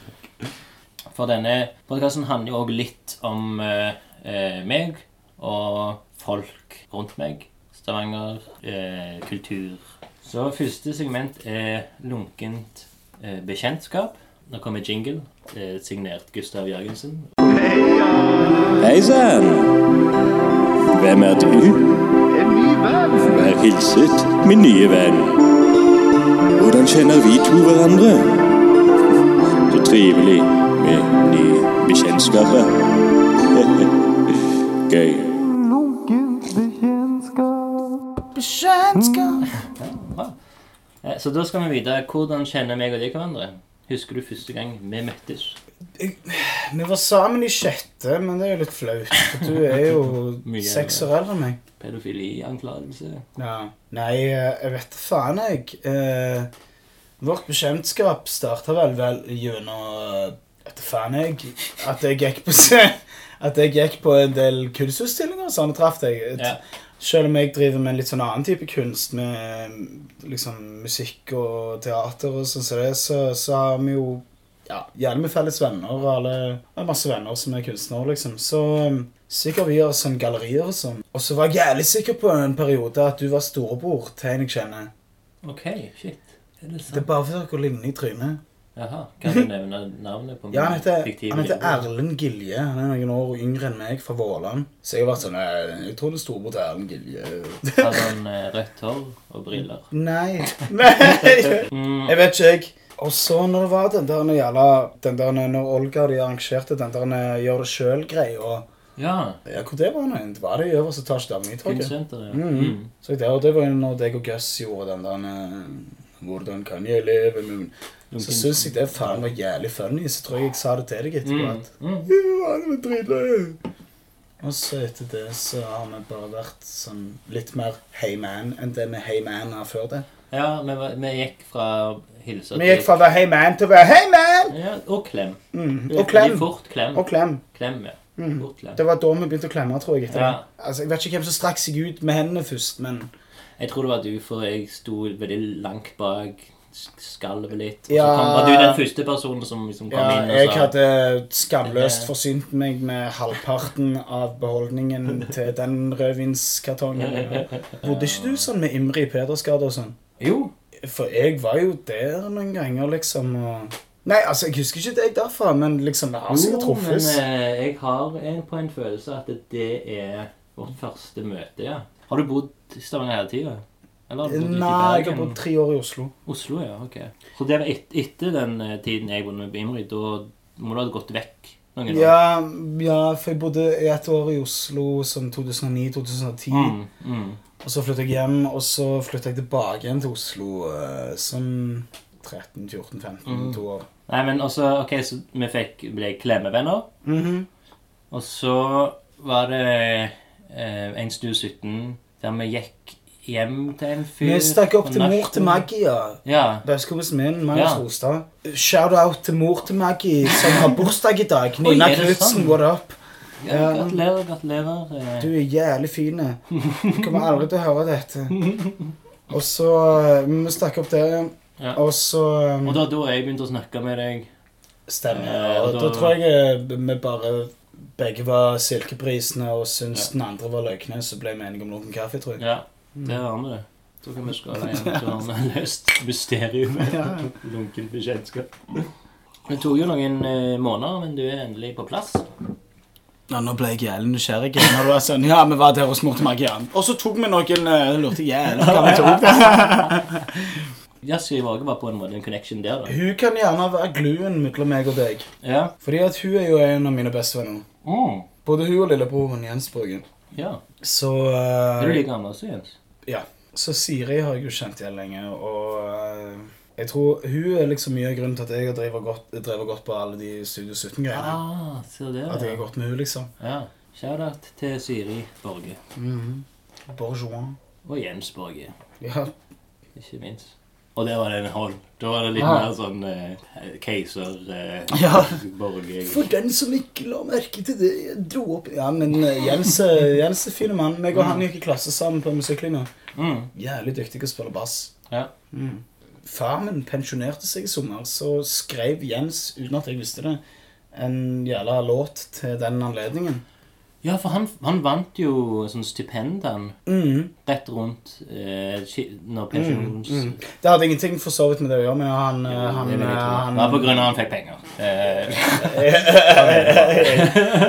Speaker 1: For denne podkasten handler jo òg litt om eh, eh, meg og folk rundt meg. Stavanger, eh, kultur. Så første segment er lunkent eh, bekjentskap. Nå kommer jingle, eh, signert Gustav Jørgensen.
Speaker 4: Hei sann! Hvem er du? Vær hilset, min nye venn. Hvordan kjenner vi to hverandre? Så trivelig med nye bekjentskaper. [laughs] Gøy.
Speaker 1: Eh, så da skal vi vite hvordan kjenner meg og deg hverandre. Husker du første gang vi møttes?
Speaker 2: Vi var sammen i sjette, men det er jo litt flaut. For du er [laughs] jo
Speaker 1: Mye
Speaker 2: seks år eldre enn meg.
Speaker 1: Pedofilianklagelse.
Speaker 2: Ja. Nei, eh, jeg vet da faen, jeg. Eh, vårt bekjentskap starta vel vel gjennom Vet da faen, jeg. At jeg gikk på se- [laughs] At jeg gikk på en del kunstutstillinger og sånn og traff deg. Et-
Speaker 1: Ja.
Speaker 2: Selv om jeg driver med en litt sånn annen type kunst, med mm, liksom musikk og teater og sånn som det, så, så har vi jo ja, gjerne med felles venner og alle og masse venner som er kunstnere, liksom. Så um, sikkert vi gjør sånn gallerier og sånn. Og så var jeg jævlig sikker på en periode at du var storebror til en jeg kjenner.
Speaker 1: OK, shit. Er det
Speaker 2: Det er
Speaker 1: sant?
Speaker 2: bare fordi dere ligner i trynet.
Speaker 1: Jaha. Kan du nevne navnet på min
Speaker 2: Ja, han heter,
Speaker 1: fiktive
Speaker 2: han heter
Speaker 1: lillebror?
Speaker 2: Erlend Gilje. Han er noen år yngre enn meg, fra Våland. Så jeg har vært sånn eh, Jeg tror det er storebror til Erlend Gilje. [laughs]
Speaker 1: Hadde han eh, rødt hår og briller?
Speaker 2: Nei. [laughs] Nei.
Speaker 1: Mm.
Speaker 2: Jeg vet ikke, jeg. Og så når det var den der jævla den der Når Olga og de arrangerte den der gjør det sjøl-greia
Speaker 1: Ja.
Speaker 2: Ja, hvor det var nå? Det var det i øverste etasje der mitt, tror jeg.
Speaker 1: Kunstsenteret.
Speaker 2: Mm.
Speaker 1: Mm.
Speaker 2: Så det, og det var jo når deg og Gus gjorde den der eh, Hvordan kan jeg leve med min-» Så syns jeg det faen var jævlig funny, så tror jeg jeg sa det til deg etterpå.
Speaker 1: Mm.
Speaker 2: at
Speaker 1: Mm.
Speaker 2: «Ja, det var dritløy. Og så etter det så har vi bare vært sånn litt mer hey man enn det med hey man her før det.
Speaker 1: Ja, vi, var- vi gikk fra hilse
Speaker 2: Vi gikk fra å være hey man til å være hey man!
Speaker 1: ja, Og klem.
Speaker 2: Mm.
Speaker 1: Vi
Speaker 2: Og klem.
Speaker 1: gikk Fort klem.
Speaker 2: Og Mm. klem.
Speaker 1: Klem, ja. Fort klem.
Speaker 2: Det var da vi begynte å klemme, tror jeg. etter
Speaker 1: Ja.
Speaker 2: det. Altså, Jeg vet ikke hvem som strakk seg ut med hendene først, men
Speaker 1: Jeg tror det var du, for jeg sto veldig langt bak, s- skalv litt. Og
Speaker 2: Ja.
Speaker 1: så kom, var du den første personen som liksom kom
Speaker 2: ja,
Speaker 1: inn
Speaker 2: jeg
Speaker 1: og sa
Speaker 2: hadde skamløst forsynt meg med halvparten av beholdningen til den rødvinskartongen. Bodde ikke du sånn med Imri Pedersgade og sånn?
Speaker 1: Jo.
Speaker 2: For jeg var jo der noen ganger, liksom. og... Nei, altså, jeg husker ikke deg derfra, men liksom, vi har sikkert
Speaker 1: jo, men
Speaker 2: truffes.
Speaker 1: eh, jeg har en, på en følelse at det er vårt første møte, ja. Har du bodd i Stavanger hele tida? Eller har du bodd litt i
Speaker 2: Nei, jeg har
Speaker 1: Bergen?
Speaker 2: bodd tre år i Oslo.
Speaker 1: Oslo, ja. Ok. Så det var et, etter den eh, tiden jeg bodde med Imri, da må du ha gått vekk noen år?
Speaker 2: Ja, ja, for jeg bodde i et år i Oslo sånn 2009-2010.
Speaker 1: Mm, mm.
Speaker 2: Og så flyttet jeg hjem, og så flyttet jeg tilbake igjen til Oslo eh, som 13-14-15,
Speaker 1: Mm.
Speaker 2: to år.
Speaker 1: Nei, men også, ok, så vi fikk, ble klemmevenner,
Speaker 2: Mhm.
Speaker 1: og så var det eh, en stue 17 der vi gikk hjem til en fyr.
Speaker 2: Vi stakk opp
Speaker 1: på
Speaker 2: til mor
Speaker 1: nachspiel.
Speaker 2: til Maggie, ja.
Speaker 1: Ja,
Speaker 2: Bøskobelsen min, Magnus
Speaker 1: Ja.
Speaker 2: Rostad. Shout-out til mor til Maggie, som har bursdag i dag.
Speaker 1: Oi,
Speaker 2: Nina
Speaker 1: er det
Speaker 2: Knutsen,
Speaker 1: sant?
Speaker 2: what up?
Speaker 1: ja
Speaker 2: Ja.
Speaker 1: gratulerer, gratulerer. eh.
Speaker 2: Du er jævlig fin.
Speaker 1: [laughs]
Speaker 2: Du kommer aldri til å høre dette. Og så eh, Vi eh, stakk opp der,
Speaker 1: Ja.
Speaker 2: Og så um,
Speaker 1: Og da da jeg begynte å snakke med deg
Speaker 2: Stemmer.
Speaker 1: Eh,
Speaker 2: og
Speaker 1: og
Speaker 2: da,
Speaker 1: da-
Speaker 2: tror jeg eh, vi bare begge var silkeprisene og syntes den andre var løgne, så ble vi enige om lunken kaffe, tror jeg.
Speaker 1: Ja, der har vi det. Da kan vi skala igjen til han har
Speaker 2: [laughs]
Speaker 1: løst mysteriet.
Speaker 2: Ja.
Speaker 1: Lunken bekjentskap. Det tok jo noen eh, måneder, men du er endelig på plass.
Speaker 2: Ja, nå ble jeg jævlig nysgjerrig. Når du var sånn, ja, vi var der og smurte magian. Og så tok vi noen eh, lurte jævlig hva vi tok.
Speaker 1: Jazzy Vage var på en måte en connection der, da.
Speaker 2: [laughs] Hun kan gjerne være gluen mellom meg og deg.
Speaker 1: Ja.
Speaker 2: Fordi at hun er jo en av mine bestevenner.
Speaker 1: Mm.
Speaker 2: Både hun og lillebroren Jens Borgen.
Speaker 1: ja.
Speaker 2: Så
Speaker 1: Er du
Speaker 2: eh,
Speaker 1: like gammel som Jens?
Speaker 2: Ja. Så Siri har jeg jo kjent igjen lenge, og eh, jeg tror hun er liksom mye av grunnen til at jeg har drevet godt, drevet godt på alle de Studio 17-greiene.
Speaker 1: Ah, ser du
Speaker 2: At jeg
Speaker 1: det?
Speaker 2: har gått med hun liksom.
Speaker 1: Ja. Shout-out til Siri Borge.
Speaker 2: Mhm. Bourgeois.
Speaker 1: Og Jens Borge,
Speaker 2: Ja.
Speaker 1: ikke minst. Og der var det en hånd. Da var det litt
Speaker 2: Ah.
Speaker 1: mer sånn eh, keiser eh,
Speaker 2: Ja.
Speaker 1: Borge.
Speaker 2: [laughs] For den som ikke la merke til det, jeg dro opp Ja, men eh, Jens, eh, Jens er fin mann. Meg og han gikk i klasse sammen på musikklinja.
Speaker 1: Mm.
Speaker 2: Jævlig dyktig til å spille bass.
Speaker 1: Ja.
Speaker 2: Far min pensjonerte seg i sommer, så skrev Jens, uten at jeg visste det, en jævla låt til den anledningen.
Speaker 1: Ja, for han, han vant jo sånn stipend, han.
Speaker 2: Mhm.
Speaker 1: Rett rundt eh, ki- når pensjons...
Speaker 2: Mm. Det hadde ingenting for så vidt med det å gjøre, men han, eh,
Speaker 1: Jo,
Speaker 2: han,
Speaker 1: det vil jeg tro.
Speaker 2: han,
Speaker 1: Det var på grunn av han fikk penger. Eh,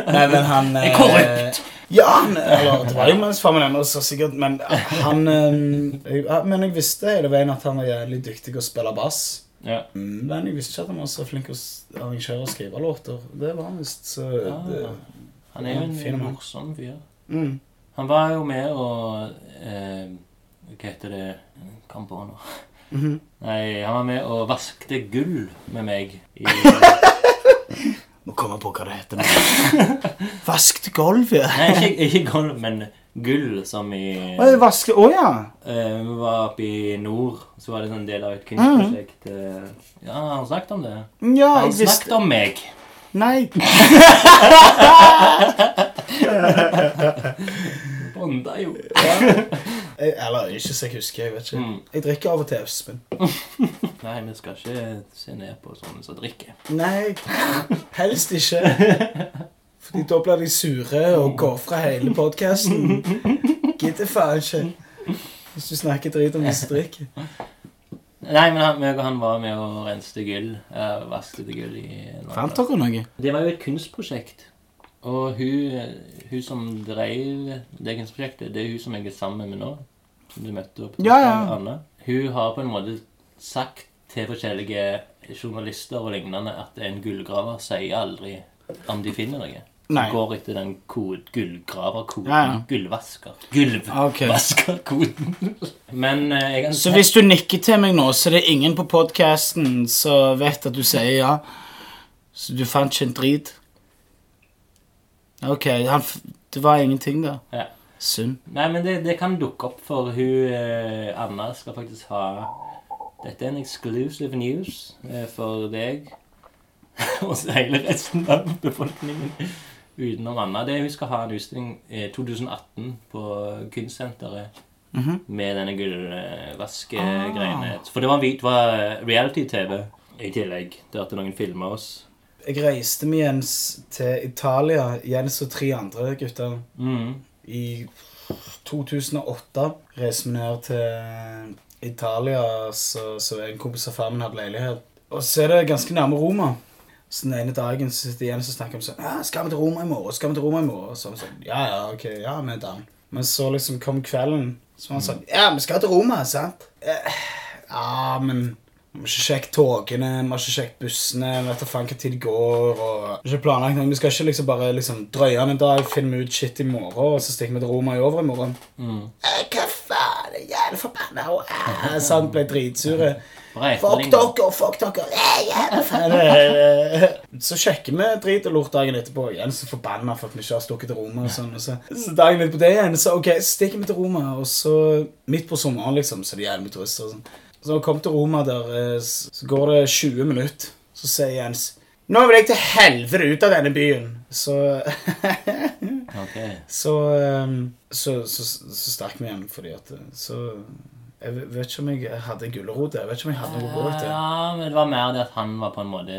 Speaker 2: [laughs] Nei, men han eh,
Speaker 1: Korrupt!
Speaker 2: Ja, han, eller det var jo mens far min ennå så sikkert, men han eh, jeg, ja, Men jeg visste hele veien at han var jævlig dyktig til å spille bass.
Speaker 1: ja.
Speaker 2: Men jeg visste ikke at han var så flink til å s- arrangere og skrive låter. Det var han visst, så det,
Speaker 1: Ah. Han er jo
Speaker 2: Fin
Speaker 1: en
Speaker 2: mann.
Speaker 1: morsom fyr.
Speaker 2: mm.
Speaker 1: Han var jo med og eh, Hva heter det Kom på nå.
Speaker 2: Mhm.
Speaker 1: Nei, han var med og vaskte gull med meg i
Speaker 2: [laughs] Må komme på hva det heter nå. [laughs] Vask til gulvet.
Speaker 1: Nei, ikke, ikke gulv, men gull som i
Speaker 2: Å, jeg vasker Å ja.
Speaker 1: Eh, Vi var oppe i nord, så var det en del av et
Speaker 2: Mm-hmm.
Speaker 1: kunstprosjekt. eh. Ja, han snakket om det.
Speaker 2: Ja,
Speaker 1: Han
Speaker 2: jeg visste
Speaker 1: snakket om meg.
Speaker 2: Nei.
Speaker 1: Bonda jo.
Speaker 2: Jeg, eller ikke så jeg husker. Jeg vet ikke.
Speaker 1: Mm.
Speaker 2: Jeg drikker av og til Espen.
Speaker 1: Nei, vi skal ikke se ned på sånne som drikker.
Speaker 2: Nei, helst ikke. Fordi da blir de sure og går fra hele podkasten. Gidder faen ikke. Hvis du snakker drit om disse drikker.
Speaker 1: Nei, men han, meg og han var med og renste gull. eh, vasket gull i
Speaker 2: dere noe?
Speaker 1: Det var jo et kunstprosjekt. Og hun, hun som drev det kunstprosjektet, det er hun som jeg er sammen med nå. Som du møtte opp
Speaker 2: Ja, ja.
Speaker 1: Anna. Hun har på en måte sagt til forskjellige journalister og lignende at en gullgraver sier aldri om de finner noe.
Speaker 2: Nei.
Speaker 1: De går etter den kod, gullgraverkoden.
Speaker 2: Ja, ja.
Speaker 1: Gullvasker. Gullvaskerkoden. [laughs] Men eh, jeg kan
Speaker 2: Så hvis du nikker til meg nå, så er det ingen på podkasten som vet at du sier ja. Så du fant ikke en drit? OK, han f det var ingenting, da.
Speaker 1: Ja.
Speaker 2: Synd.
Speaker 1: Nei, men det, det kan dukke opp, for hun eh, Anna skal faktisk ha Dette er en exclusive news eh, for deg [laughs] og hele resten av befolkningen utenom Anna. Det er Hun skal ha en utstilling eh, 2018 på Kunstsenteret
Speaker 2: Mhm.
Speaker 1: med denne gullvaskegreiene. For det var, en vid- det var eh, reality-TV i tillegg. Der at noen filma oss.
Speaker 2: Jeg reiste med Jens til Italia, Jens og tre andre gutter.
Speaker 1: Mhm.
Speaker 2: I 2008 reiste vi ned til Italia, så, så en kompis av far min hadde leilighet. Og så er det ganske nærme Roma. Så den ene dagen så sitter jeg igjen og så snakker om sånn «Ah, 'Skal vi til Roma i morgen?' skal vi til Roma i morgen? Og så er vi sånn, ja, ja, ok, ja, vi er down. Men så liksom kom kvelden, så var han sånn 'Ja, vi skal til Roma, sant?' Eh, Ja, men vi har ikke sjekket togene, vi har ikke sjekket bussene, vi vet da faen hva tid det går, og vi har ikke planlagt noe. Vi skal ikke liksom bare liksom drøye den en dag, finne ut shit i morgen, og så stikker vi til Roma i overmorgen.
Speaker 1: Mm.
Speaker 2: Eh, Hva faen, jeg er jævlig forbanna, og eh, sant, ble dritsure.
Speaker 1: Bra
Speaker 2: Fuck
Speaker 1: etterligning.
Speaker 2: dere, fuck dere, eh, jævlig faen. eh, eh. Så sjekker vi drit og lort dagen etterpå, igjen så forbanna for at vi ikke har stukket til Roma og sånn, og så. Så dagen etterpå det igjen, så ok, stikker vi til Roma, og så midt på sommeren liksom, så er det jævlig mye turister og sånn. Så når jeg kom til Roma der, eh, s- så går det 20 minutter. Så sier Jens Nå vil jeg til helvete ut av denne byen! Så [laughs] ehm,
Speaker 1: Ok.
Speaker 2: så, eh, så, så, så stakk vi igjen fordi at eh, Så Jeg ve- vet ikke om jeg hadde en gulrot der. Jeg vet ikke om jeg hadde noe å gå etter.
Speaker 1: Ja, men det var mer det at han var på en måte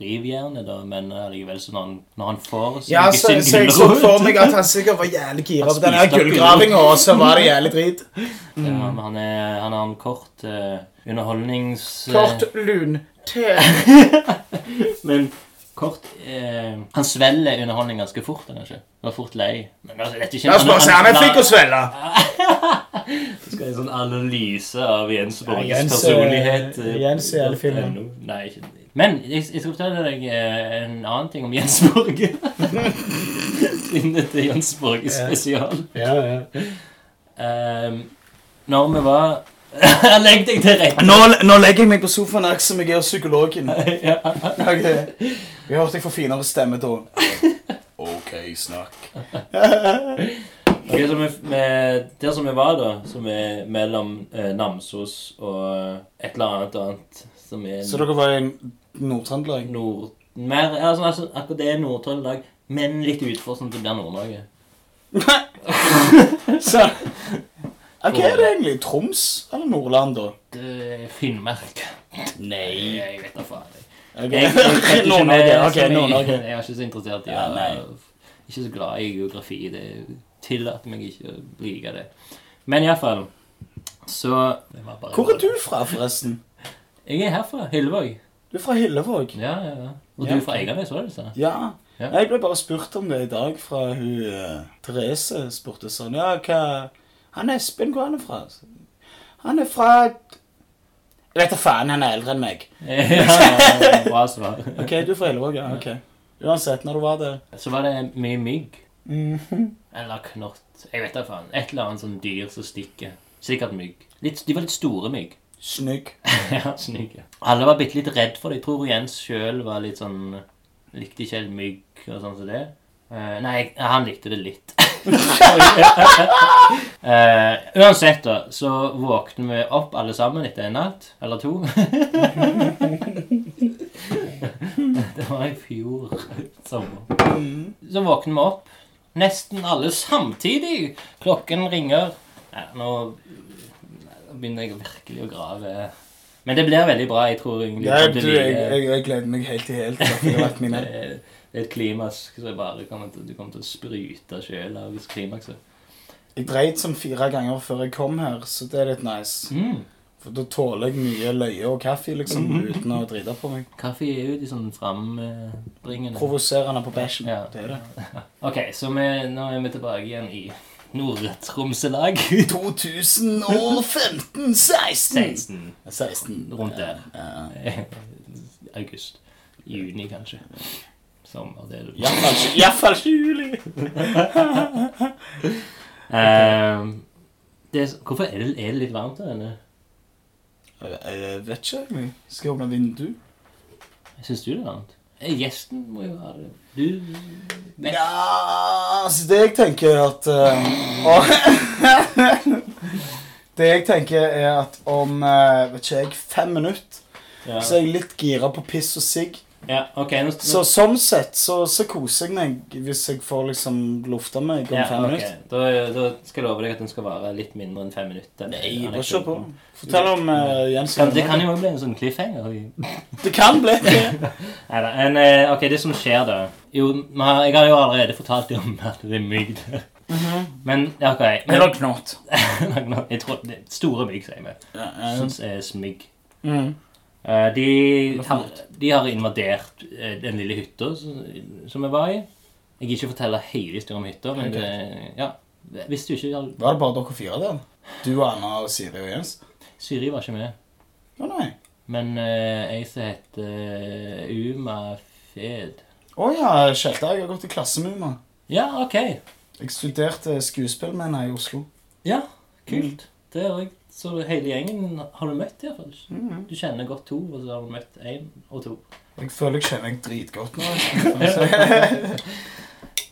Speaker 1: rivjernet, da, men allikevel så når han, når han får
Speaker 2: Ja, så,
Speaker 1: sin
Speaker 2: så jeg så
Speaker 1: gulrot-
Speaker 2: for meg at han sikkert var jævlig gira
Speaker 1: Han
Speaker 2: på den her
Speaker 1: spiste opp
Speaker 2: gullgravinga, og så var det jævlig drit.
Speaker 1: Ja, men han, er, han har en kort eh, underholdnings... eh,
Speaker 2: Kort, lun, te.
Speaker 1: Men kort eh, Han svelger underholdning ganske fort. Han er ikke Han er fort lei. Men altså, dette er ikke
Speaker 2: La oss bare se, han er flink å svelge.
Speaker 1: Skal en sånn analyse av Jens Borges
Speaker 2: Ja, Jens, eh,
Speaker 1: personlighet. eh,
Speaker 2: Jens er jævlig fin, ja.
Speaker 1: NO. Nei, ikke Men jeg, jeg skal fortelle deg eh, en annen ting om Jens [laughs] Borge. Inne til Jens Borge
Speaker 2: Ja.
Speaker 1: spesial.
Speaker 2: Ja, ja.
Speaker 1: Um, når vi var [laughs] Legg deg til rette!
Speaker 2: Nå, nå legger jeg meg på sofaen her som jeg er hos psykologen.
Speaker 1: ja.
Speaker 2: [laughs] Ok. Vi hørte jeg får finere stemme da. OK, snakk.
Speaker 1: Ok, så vi, vi, Der som vi var, da, som er mellom eh, Namsos og eh, et eller annet annet som er
Speaker 2: Så dere var i Nord-Trøndelag?
Speaker 1: nord... Mer, ja, sånn, altså, akkurat det er Nord-Trøndelag, men litt utfor sånn at det blir Nord-Norge.
Speaker 2: [laughs] Så Ja, Hva er det egentlig? Troms eller Nordland, da?
Speaker 1: Det er Finnmark. Nei, jeg vet da faen. jeg.
Speaker 2: Ok.
Speaker 1: Jeg- jeg vet [laughs] ikke
Speaker 2: [laughs] Nord-Norge.
Speaker 1: mer,
Speaker 2: Ok,
Speaker 1: så jeg-
Speaker 2: Nord-Norge.
Speaker 1: Jeg er ikke så interessert i
Speaker 2: Ja, nei.
Speaker 1: det. Ikke så glad i geografi. Det tillater meg ikke å like det. Men iallfall så det var bare-
Speaker 2: Hvor er du fra, forresten?
Speaker 1: Jeg er herfra. Hyllevåg.
Speaker 2: Du er fra Hillevåg?
Speaker 1: Ja, ja, ja. Og
Speaker 2: Ja.
Speaker 1: du er fra Eiganes, var det sånn. du [laughs] sa?
Speaker 2: Ja.
Speaker 1: Ja.
Speaker 2: Jeg ble bare spurt om det i dag fra hun eh, Therese. spurte sånn, ja, hva Han Espen, hvor er han fra? Han er fra Jeg vet da faen, han er eldre enn meg.
Speaker 1: ja, bra svar.
Speaker 2: Ok, du er fra Hillevåg, ja. ok. Uansett, når du var der
Speaker 1: Så var det mye mygg. Eller knott. Jeg vet da faen. Et eller annet sånn dyr som stikker. Sikkert mygg. Litt, de var litt store mygg. [laughs]
Speaker 2: Snygg.
Speaker 1: ja, snygge. Alle var bitte litt redd for det. Jeg tror Jens sjøl var litt sånn Likte ikke helt mygg og sånn som det. Eh, nei, han likte det litt. [laughs] Eh, uansett, da, så våkner vi opp alle sammen etter en natt eller to. [laughs] det var i fjor sommer. Så våkner vi opp, nesten alle samtidig. Klokken ringer. Ja, nå da begynner jeg virkelig å grave. Men det blir veldig bra. Jeg tror egentlig
Speaker 2: Ja,
Speaker 1: at
Speaker 2: du,
Speaker 1: det
Speaker 2: jeg,
Speaker 1: blir-
Speaker 2: jeg, jeg gleder meg helt til helt. at Det har vært min
Speaker 1: eh, [laughs] det er- det er et klimaks som jeg bare kommer til, du kommer til å sprute sjøl av hvis klimakset.
Speaker 2: Jeg dreit som fire ganger før jeg kom her, så det er litt nice.
Speaker 1: Mm.
Speaker 2: For da tåler jeg mye løye og kaffe, liksom,
Speaker 1: Mhm.
Speaker 2: uten å drite på meg.
Speaker 1: Kaffe er jo de sånn frambringende
Speaker 2: Provoserende på bæsjen.
Speaker 1: Ja.
Speaker 2: Det er det.
Speaker 1: Ok, så vi, nå er vi tilbake igjen i Nord-Tromselag.
Speaker 2: [laughs] 2015 16
Speaker 1: 16.
Speaker 2: 16
Speaker 1: Rundt der.
Speaker 2: Ja.
Speaker 1: Eh, August. Juni, kanskje. Sommer, det er det.
Speaker 2: Iallfall ikke- Iallfall ikke juli.
Speaker 1: Ehm, det er, hvorfor er det, er det litt varmt der inne?
Speaker 2: Jeg vet ikke. jeg. Skal jeg åpne vinduet?
Speaker 1: Syns du det er varmt? Eh, Gjesten må jo ha det. Du vet
Speaker 2: Ja, altså det jeg tenker er at eh, og- [laughs] Det jeg tenker er at om eh, vet ikke jeg, fem minutter
Speaker 1: ja. Mm.
Speaker 2: så er jeg litt gira på piss og sigg.
Speaker 1: ja, ok, nå, nå
Speaker 2: Så sånn sett så, så koser jeg meg hvis jeg får liksom lufta meg om
Speaker 1: ok.
Speaker 2: fem minutter.
Speaker 1: Da, da skal jeg love deg at den skal vare litt mindre enn fem minutter.
Speaker 2: Nei,
Speaker 1: Den
Speaker 2: bare
Speaker 1: anekdoten.
Speaker 2: se på. Fortell om eh, Jens.
Speaker 1: Kan, det kan jo også bli en sånn cliffhanger. Neida,
Speaker 2: Det kan bli det.
Speaker 1: en, eh, ok, det som skjer da Jo, vi har- jeg har jo allerede fortalt deg om at det er mygg der.
Speaker 2: Mhm.
Speaker 1: Men, ja, ok. Men,
Speaker 2: Eller knott.
Speaker 1: jeg tror, det er store mygg, sier vi.
Speaker 2: Ja, ja.
Speaker 1: Sånn som er smygg.
Speaker 2: Mm.
Speaker 1: Eh, De
Speaker 2: Eller
Speaker 1: har,
Speaker 2: flott.
Speaker 1: de har invadert eh, den lille hytta som som vi var i. Jeg gidder ikke fortelle hele historien om hytta, men
Speaker 2: Ok.
Speaker 1: det, ja. Hvis du ikke
Speaker 2: Var det bare dere fire der? Du og Anna og Siri og Jens?
Speaker 1: Syri var ikke med.
Speaker 2: Å nei.
Speaker 1: Men eh, jeg som heter eh, Uma Fed
Speaker 2: Å ja, Kjelta. Jeg har gått i klasse med henne.
Speaker 1: Ja, OK.
Speaker 2: Jeg studerte skuespill med henne i Oslo.
Speaker 1: Ja, kult.
Speaker 2: Mm.
Speaker 1: Det har jeg. Så hele gjengen har du møtt, iallfall.
Speaker 2: Mm.
Speaker 1: Du kjenner godt to, og så har du møtt én og to.
Speaker 2: Jeg føler jeg kjenner meg dritgodt [laughs] nå.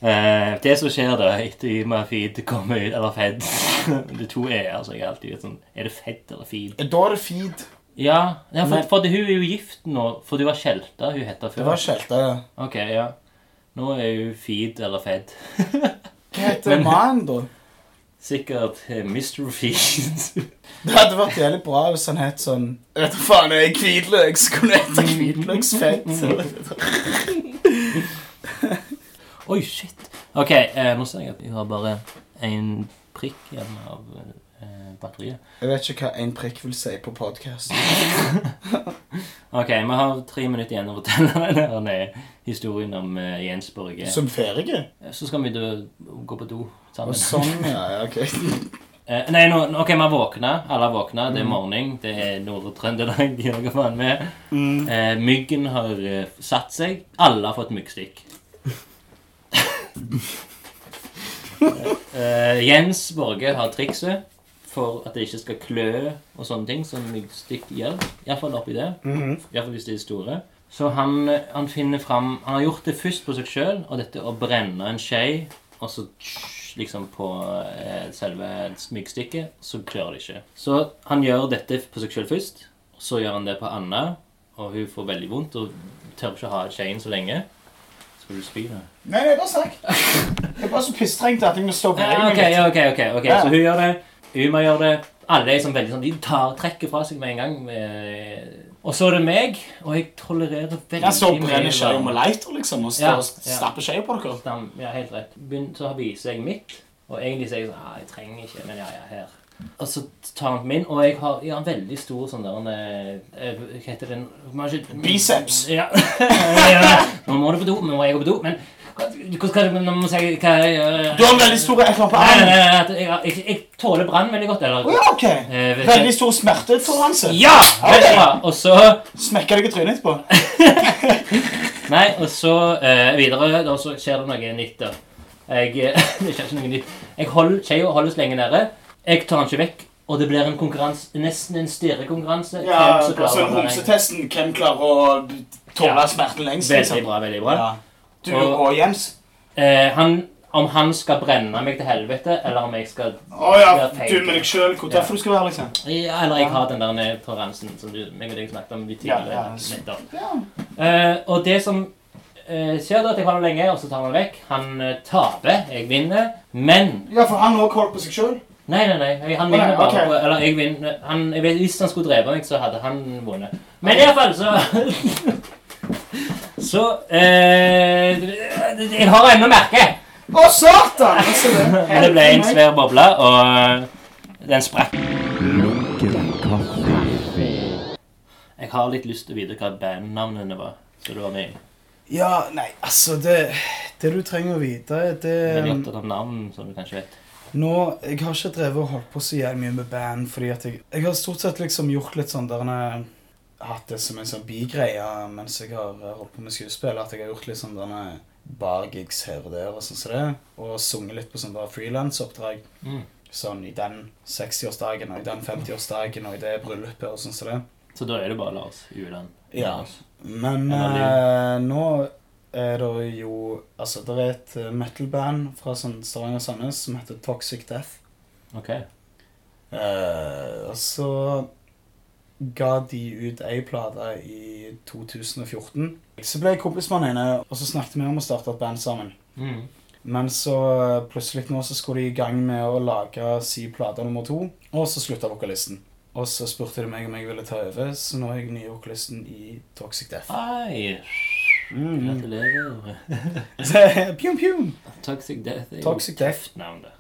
Speaker 1: Eh, det som skjer da etter Uma Fed kommer ut, eller Fed [laughs] Det er to er så jeg er alltid vet sånn Er det Fed eller Fed?
Speaker 2: da er det feed.
Speaker 1: Ja, ja for,
Speaker 2: Men-
Speaker 1: for hun er jo gift nå, for du var Kjelta hun heter
Speaker 2: Det
Speaker 1: før.
Speaker 2: var Kjelta, ja.
Speaker 1: Ok, ja. Nå er hun Feed eller Fed.
Speaker 2: Hva heter mannen, da?
Speaker 1: Sikkert eh, Mr. Feed. [laughs]
Speaker 2: Det hadde vært jævlig bra hvis han het sånn Jeg vet da faen, jeg er hvitløk, så kunne du hete hvitløksfett.
Speaker 1: Oi, shit. OK, eh, nå ser jeg at jeg har bare én prikk igjen av eh, batteriet.
Speaker 2: Jeg vet ikke hva en prikk vil si på podkast.
Speaker 1: OK, vi har tre minutter igjen å fortelle [laughs] denne historien om eh, Jens Børge.
Speaker 2: Som ferie?
Speaker 1: Så skal vi dø, gå på do
Speaker 2: Og
Speaker 1: sammen.
Speaker 2: sånn, ja. ja, ok.
Speaker 1: Eh, nei, nå, nå- ok, vi har våkna. Alle har våkna. Det er morgen. Det er Nord-Trøndelag. [laughs] de gjør hva faen med. Eh, myggen har eh, satt seg. Alle har fått myggstikk. eh, Jens Borge har trikset for at det ikke skal klø og sånne ting, som myggstikk gjør. Iallfall oppi det. Iallfall hvis de er store. Så han, eh, han finner fram Han har gjort det først på seg sjøl, og dette å brenne en skje og så tsj, liksom på eh, selve myggstikket, så klør det ikke. Så han gjør dette på seg sjøl først, og så gjør han det på Anna, og hun får veldig vondt og tør ikke ha skjeen så lenge. Skal du spy, da?
Speaker 2: Nei, nei, bare snakk. Jeg er bare så pisstrengt at jeg må stå på
Speaker 1: Ja,
Speaker 2: egne
Speaker 1: ok,
Speaker 2: litt.
Speaker 1: ja, ok, ok, ok.
Speaker 2: Ja.
Speaker 1: Så hun gjør det, Uma gjør det. Alle er sånn veldig sånn, de tar, trekker fra seg med en gang. Med... Og så er det meg, og jeg tolererer veldig
Speaker 2: Jeg så brenner
Speaker 1: mye
Speaker 2: skjea
Speaker 1: varme.
Speaker 2: med lighter, liksom, og
Speaker 1: Ja,
Speaker 2: står og
Speaker 1: ja.
Speaker 2: stapper skjea på dere.
Speaker 1: Stam, ja, helt rett. Begynn, så viser jeg mitt, og egentlig sier jeg sånn, ja, jeg trenger ikke, men ja, ja, her. Og så tar han min, og jeg har, jeg har en veldig stor sånn der, en, eh, eh, hva heter den? Maskin-
Speaker 2: Biceps.
Speaker 1: Ja. [laughs] Ja, Nå må du på do, nå må jeg gå på do, men hvordan skal du, nå må jeg si hva jeg gjør.
Speaker 2: Du har en veldig stor et eller annet på
Speaker 1: Nei, nei,
Speaker 2: armen.
Speaker 1: nei, nei, jeg, jeg, jeg tåler brann veldig godt, eller?
Speaker 2: Å ja, ok.
Speaker 1: Eh, vet-
Speaker 2: Veldig stor smertetoleranse.
Speaker 1: Ja! Veldig bra! Og så...
Speaker 2: Smekker deg i trynet etterpå.
Speaker 1: Nei, og så eh, videre, da så skjer det noe nytt da. Jeg, [laughs] eh, det skjer ikke noe nytt. Jeg holder, skjeia holdes lenge nede. Jeg tar den ikke vekk, og det blir en konkurranse, nesten en stirrekonkurranse.
Speaker 2: Ja,
Speaker 1: Hvem som
Speaker 2: og så
Speaker 1: klarer å holde den.
Speaker 2: homsetesten. Hvem klarer å
Speaker 1: Ja.
Speaker 2: tåle smerten lengst? liksom?
Speaker 1: Veldig bra, veldig bra.
Speaker 2: Ja. Du
Speaker 1: Og-
Speaker 2: og Jens.
Speaker 1: Eh, han, om han skal brenne meg til helvete, eller om jeg skal...
Speaker 2: Å ja,
Speaker 1: Ja, tenk.
Speaker 2: du med deg sjøl. Hvor
Speaker 1: Ja.
Speaker 2: tøff du skal være, liksom.
Speaker 1: Ja, eller jeg har den der nede toleransen som du, meg og deg snakket om litt
Speaker 2: Ja,
Speaker 1: tidligere.
Speaker 2: ja.
Speaker 1: nettopp.
Speaker 2: Ja.
Speaker 1: Eh, og det som eh, skjer da, at jeg holder lenge, og så tar han vekk. Han eh, taper, jeg vinner, men...
Speaker 2: ja, for han òg holdt på seg sjøl.
Speaker 1: Nei, nei, nei. jeg- Han
Speaker 2: Å, nei,
Speaker 1: vinner bare
Speaker 2: ok.
Speaker 1: på Eller jeg vinner han, jeg vet, Hvis han skulle drepe meg, så hadde han vunnet. Men i hvert fall så [laughs] Så eh, Jeg har ennå merket.
Speaker 2: Å, satan! Altså,
Speaker 1: Men det ble en svær boble, og eh, den sprakk.
Speaker 3: Lunken kaffe.
Speaker 1: Jeg har litt lyst til å vite hva bandnavnene var. Så du var med. i.
Speaker 2: Ja, nei, altså det, det du trenger å vite, det
Speaker 1: Jeg er Veldig opptatt av navn, som du kanskje vet.
Speaker 2: Nå, Jeg har ikke drevet og holdt på så jævlig mye med band. fordi at jeg, jeg har stort sett liksom gjort litt sånn der en- Hatt det som en sånn bigreie mens jeg har eh, holdt på med skuespill. At jeg har gjort litt sånn derne bargigs her og der og sånn som det. Og sunget litt på sånn der frilansoppdrag.
Speaker 1: Mm.
Speaker 2: Sånn i den 60-årsdagen og i den 50-årsdagen og i det bryllupet og sånn som det.
Speaker 1: Så da er det bare Lars Ueland.
Speaker 2: Ja. Men eh,
Speaker 1: Eller
Speaker 2: nå er det jo Altså, det er et eh, metal-band fra sånn Stavanger og Sandnes som heter Toxic Death.
Speaker 1: Ok.
Speaker 2: Eh, og så ga de ut ei plate i 2014. Så ble jeg kompis med han ene, og så snakket vi om å starte et band sammen.
Speaker 1: Mm.
Speaker 2: Men så eh, plutselig nå så skulle de i gang med å lage si plate nummer to, og så slutta vokalisten. Og så spurte de meg om jeg ville ta over, så nå er jeg nye vokalisten i Toxic Death. [laughs]
Speaker 1: Hei.
Speaker 2: Mm.
Speaker 1: Gratulerer.
Speaker 2: eh, pjum, pjum.
Speaker 1: Toxic Death er jo
Speaker 2: Toxic Death.
Speaker 1: et navn, det.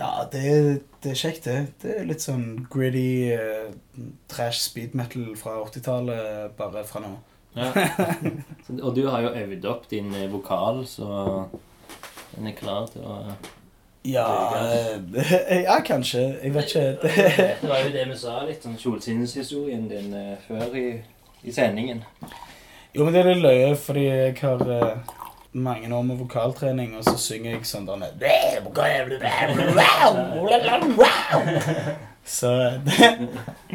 Speaker 2: Ja, det, er- det er kjekt, det. Det er litt sånn gritty eh, trash speed metal fra 80-tallet, bare fra nå.
Speaker 1: Ja. Så, og du har jo øvd opp din eh, vokal, så den er klar til å
Speaker 2: Ja, eh, [laughs] ja kanskje. Jeg vet ikke. Det,
Speaker 1: Det var jo det vi sa litt, sånn kjolsinnshistorien din eh, før i, i sendingen.
Speaker 2: [laughs] jo, men det er litt løye, fordi jeg har eh, mange år med vokaltrening, og så synger jeg sånn der nede. [laughs] Så [laughs] det,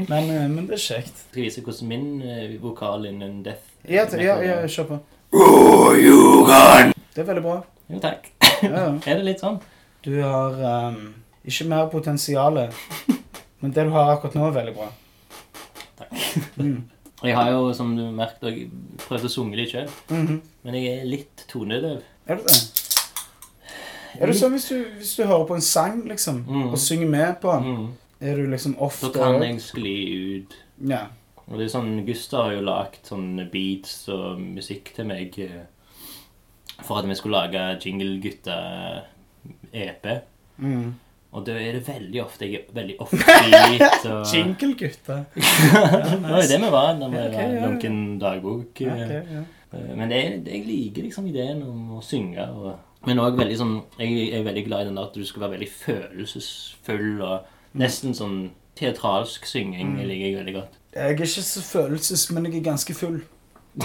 Speaker 2: men, eh, men det er kjekt.
Speaker 1: Jeg skal vise hvordan min eh, vokal innen death
Speaker 2: Ja, t- ja, ja, kjør på. Det er veldig bra.
Speaker 1: Jo, takk.
Speaker 2: Ja, ja.
Speaker 1: Er det litt sånn?
Speaker 2: Du har ehm, ikke mer potensial, [laughs] men det du har akkurat nå, er veldig bra.
Speaker 1: Og Jeg har jo, som du merket, også prøvd å synge litt sjøl,
Speaker 2: Mhm.
Speaker 1: men jeg er litt tonedøv.
Speaker 2: Er det det? Mm. Er det sånn hvis du, hvis du hører på en sang liksom,
Speaker 1: Mm.
Speaker 2: og synger med på den?
Speaker 1: Mm.
Speaker 2: Er du liksom off
Speaker 1: Da
Speaker 2: da
Speaker 1: kan
Speaker 2: også?
Speaker 1: jeg skli ut.
Speaker 2: Ja.
Speaker 1: Og det er sånn, Gustav har jo lagt sånne beats og musikk til meg eh, for at vi skulle lage Jinglegutta-EP.
Speaker 2: Mm.
Speaker 1: Og da er det veldig ofte jeg er veldig offbeat.
Speaker 2: [laughs]
Speaker 1: Og...
Speaker 2: Jingle-gutta.
Speaker 1: [laughs] Det var jo det vi var da vi
Speaker 2: Ja, ok,
Speaker 1: var
Speaker 2: ja.
Speaker 1: lunken dagbok.
Speaker 2: Ja,
Speaker 1: eh,
Speaker 2: ok, ja.
Speaker 1: Eh, Men det, er- jeg liker liksom ideen om å synge. Og, men òg veldig sånn Jeg er veldig glad i den der at du skal være veldig følelsesfull og
Speaker 2: Mm.
Speaker 1: nesten sånn teatralsk synging. Det liker jeg veldig godt.
Speaker 2: Jeg er ikke så følelses, men jeg er ganske full. [laughs]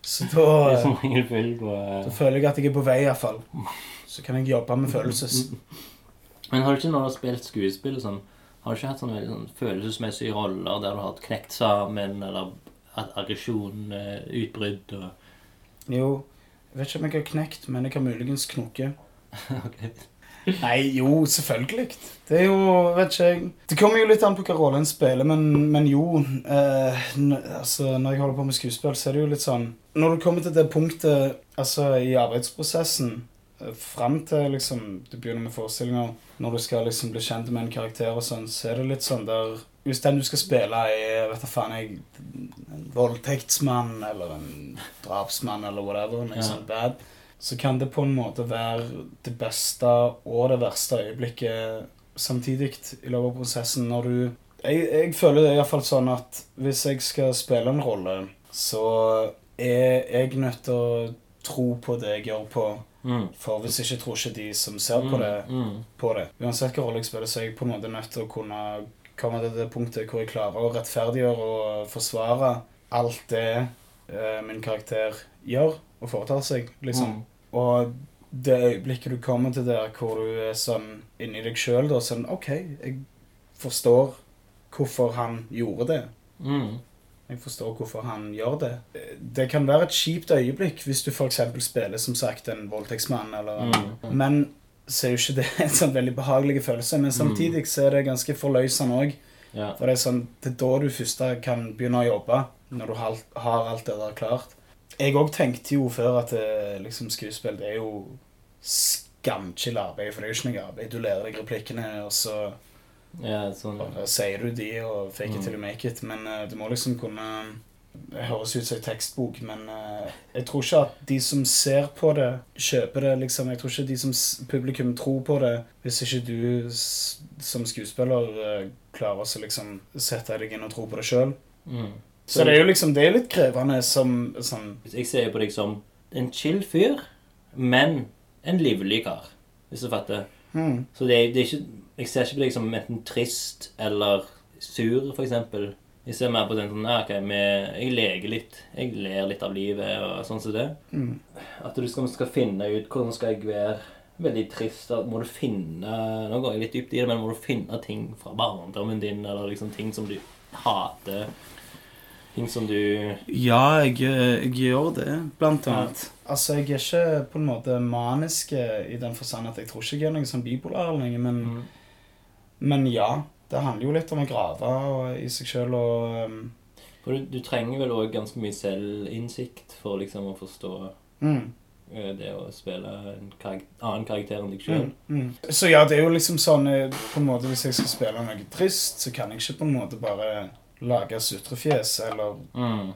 Speaker 2: Så da,
Speaker 1: [laughs] Det er så mange full på
Speaker 2: da føler jeg at jeg er på vei, iallfall. Så kan jeg jobbe med følelses.
Speaker 1: Men har du ikke når du har spilt skuespill og sånn, har du ikke hatt sånne veldig sånn følelsesmessige roller der du har knekt sammen, eller hatt aggresjon, eh, utbrudd
Speaker 2: [laughs]
Speaker 1: og Mm.
Speaker 2: Jo, jeg vet ikke om jeg har knekt, men jeg har muligens knoke.
Speaker 1: Ok.
Speaker 2: Nei, jo, selvfølgelig. Det er jo Vet ikke jeg. Det kommer jo litt an på hva rolle en spiller, men, men jo eh, n altså, Når jeg holder på med skuespill, så er det jo litt sånn Når du kommer til det punktet altså, i arbeidsprosessen eh, Fram til liksom, du begynner med forestillinger, når du skal liksom, bli kjent med en karakter, og sånn, så er det litt sånn der Hvis den du skal spille, er vet da faen jeg, en voldtektsmann eller en drapsmann eller whatever,
Speaker 1: Ja.
Speaker 2: liksom, bad, så kan det på en måte være det beste og det verste øyeblikket samtidig i løpet av prosessen når du Jeg, jeg føler det iallfall sånn at hvis jeg skal spille en rolle, så er jeg nødt til å tro på det jeg gjør på.
Speaker 1: mm.
Speaker 2: For hvis ikke tror ikke de som ser på det,
Speaker 1: Mm.
Speaker 2: på det. Uansett hvilken rolle jeg spiller, så er jeg på en måte nødt til å kunne komme til det punktet hvor jeg klarer å rettferdiggjøre og forsvare alt det eh, min karakter gjør og foretar seg, liksom.
Speaker 1: Mm.
Speaker 2: Og det øyeblikket du kommer til der hvor du er sånn inni deg sjøl, da sånn OK, jeg forstår hvorfor han gjorde det.
Speaker 1: Mm.
Speaker 2: Jeg forstår hvorfor han gjør det. Det kan være et kjipt øyeblikk hvis du f.eks. spiller som sagt en voldtektsmann, eller
Speaker 1: Mm.
Speaker 2: Men så er jo ikke det [laughs] en sånn veldig behagelig følelse. Men samtidig så er det ganske forløsende òg.
Speaker 1: Ja.
Speaker 2: For det er sånn, det er da du først kan begynne å jobbe, når du har alt- har alt det der klart. Jeg òg tenkte jo før at eh, liksom, skuespill det er jo skamchill arbeid, for det er jo ikke noe arbeid. Du lærer deg replikkene, og så
Speaker 1: ja, sånn.
Speaker 2: bare sier du de og fake it till you make it. Men eh, du må liksom kunne Det høres ut som en tekstbok, men eh, jeg tror ikke at de som ser på det, kjøper det, liksom. Jeg tror ikke de som s- publikum tror på det, hvis ikke du s- som skuespiller eh, klarer å liksom sette deg inn og tro på det sjøl.
Speaker 1: Mm.
Speaker 2: Så det er jo liksom Det er litt krevende som sånn
Speaker 1: Jeg ser jo på deg som en chill fyr, men en livlig kar, hvis du fatter.
Speaker 2: hmm.
Speaker 1: Så det er, det er ikke, jeg ser ikke på deg som enten trist eller sur, for eksempel. Jeg ser mer på den sånn, ah, ok, vi- jeg leker litt, jeg ler litt av livet og sånn som det.
Speaker 2: Mm.
Speaker 1: At du skal, skal finne ut hvordan skal jeg være veldig trist, at må du finne, nå går jeg litt dypt i det, men må du finne ting fra barndommen din, eller liksom ting som du hater, ting som du...
Speaker 2: Ja, jeg, eh, jeg gjør det, blant annet. Altså, jeg er ikke på en måte manisk eh, i den forstand at jeg tror ikke jeg er noen sånn bipolar lenger, men,
Speaker 1: Mm.
Speaker 2: men ja. Det handler jo litt om å grave og, i seg sjøl og um,
Speaker 1: For du, du trenger vel også ganske mye selvinnsikt for liksom å forstå
Speaker 2: mm,
Speaker 1: eh, det å spille en karak annen karakter enn deg
Speaker 2: mm,
Speaker 1: selv.
Speaker 2: mm. Så ja, det er jo liksom sånn eh, på en måte Hvis jeg skal spille noe trist, så kan jeg ikke på en måte bare lage sutrefjes eller
Speaker 1: Mm.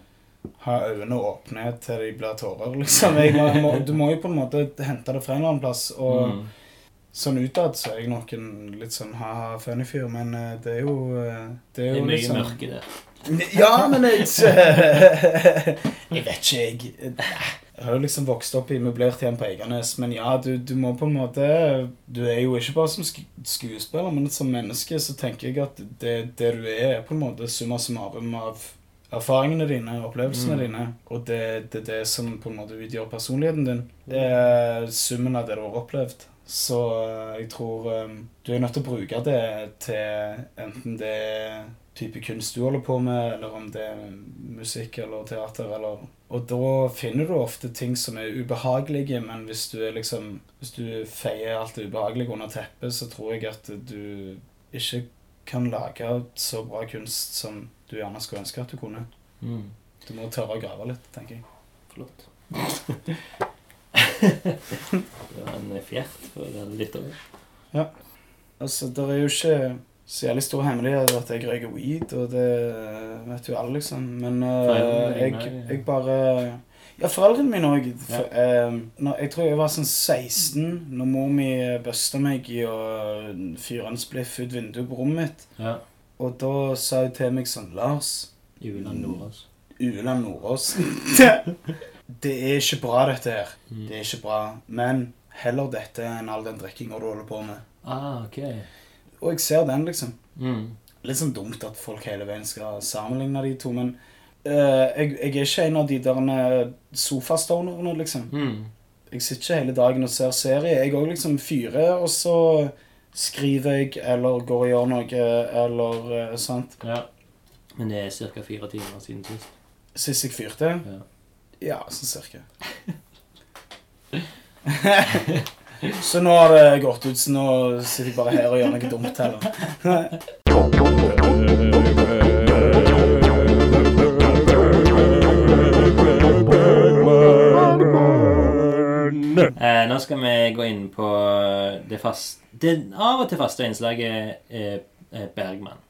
Speaker 2: ha øynene åpne til de blir tårer, liksom. Jeg må, må, du må jo på en måte hente det fra en eller annen plass. Og
Speaker 1: Mm.
Speaker 2: Sånn utad så er jeg nok en litt sånn ha-ha funny fyr, men eh, det er jo eh,
Speaker 1: Det
Speaker 2: Det er
Speaker 1: er
Speaker 2: jo
Speaker 1: mye
Speaker 2: liksom
Speaker 1: mørke der.
Speaker 2: Ja, men jeg [laughs] Jeg vet ikke, jeg. Jeg har jo liksom vokst opp i møblert hjem på Eiganes, men ja, du, du må på en måte Du er jo ikke bare som sku- skuespiller, men som menneske så tenker jeg at det, det du er, er på en måte summa summarum av erfaringene dine, opplevelsene
Speaker 1: Mm.
Speaker 2: dine, og det det er det som på en måte utgjør personligheten din. Det er summen av det du har opplevd. Så eh, jeg tror eh, du er nødt til å bruke det til enten det er type kunst du holder på med, eller om det er musikk eller teater eller Og da finner du ofte ting som er ubehagelige, men hvis du er liksom Hvis du feier alt det ubehagelige under teppet, så tror jeg at du ikke kan lage så bra kunst som du gjerne skulle ønske at du kunne.
Speaker 1: Mm.
Speaker 2: Du må tørre å grave litt, tenker jeg. [laughs]
Speaker 1: Flott. det var en fjert for den lytteren.
Speaker 2: Altså, det er jo ikke Så jævlig stor hemmelighet at jeg røyker weed, og det vet jo alle, liksom. Men eh,
Speaker 1: Foreldrene dine,
Speaker 2: jeg,
Speaker 1: ja.
Speaker 2: jeg bare Ja, foreldrene mine òg.
Speaker 1: Ja.
Speaker 2: jeg tror jeg var sånn 16 når mor mi busta meg i å fyre en spliff ut vinduet på rommet mitt.
Speaker 1: Ja.
Speaker 2: Og da sa hun til meg sånn Lars, Mm.
Speaker 1: Uland Nordås.
Speaker 2: Uland Nordås [laughs] Det er ikke bra, dette her.
Speaker 1: Mm.
Speaker 2: Det er ikke bra. Men heller dette enn all den drikkinga du holder på med.
Speaker 1: Ah, ok.
Speaker 2: Og jeg ser den, liksom.
Speaker 1: Mm.
Speaker 2: litt sånn dumt at folk hele veien skal sammenligne de to, men eh, jeg, jeg er ikke en av de der sofastonerne, liksom.
Speaker 1: Mm.
Speaker 2: Jeg sitter ikke hele dagen og ser serie. Jeg òg liksom fyrer, og så skriver jeg eller går og gjør noe eller eh, sånt.
Speaker 1: Ja. Men det er ca. fire timer siden sist.
Speaker 2: Sist jeg fyrte
Speaker 1: Ja.
Speaker 2: Ja, sånn cirka. [laughs] så nå har det gått ut, så nå sitter jeg bare her og gjør noe dumt heller.
Speaker 1: Eh, nå skal vi gå inn på det, fast, det av og til faste innslaget eh, eh, Bergman.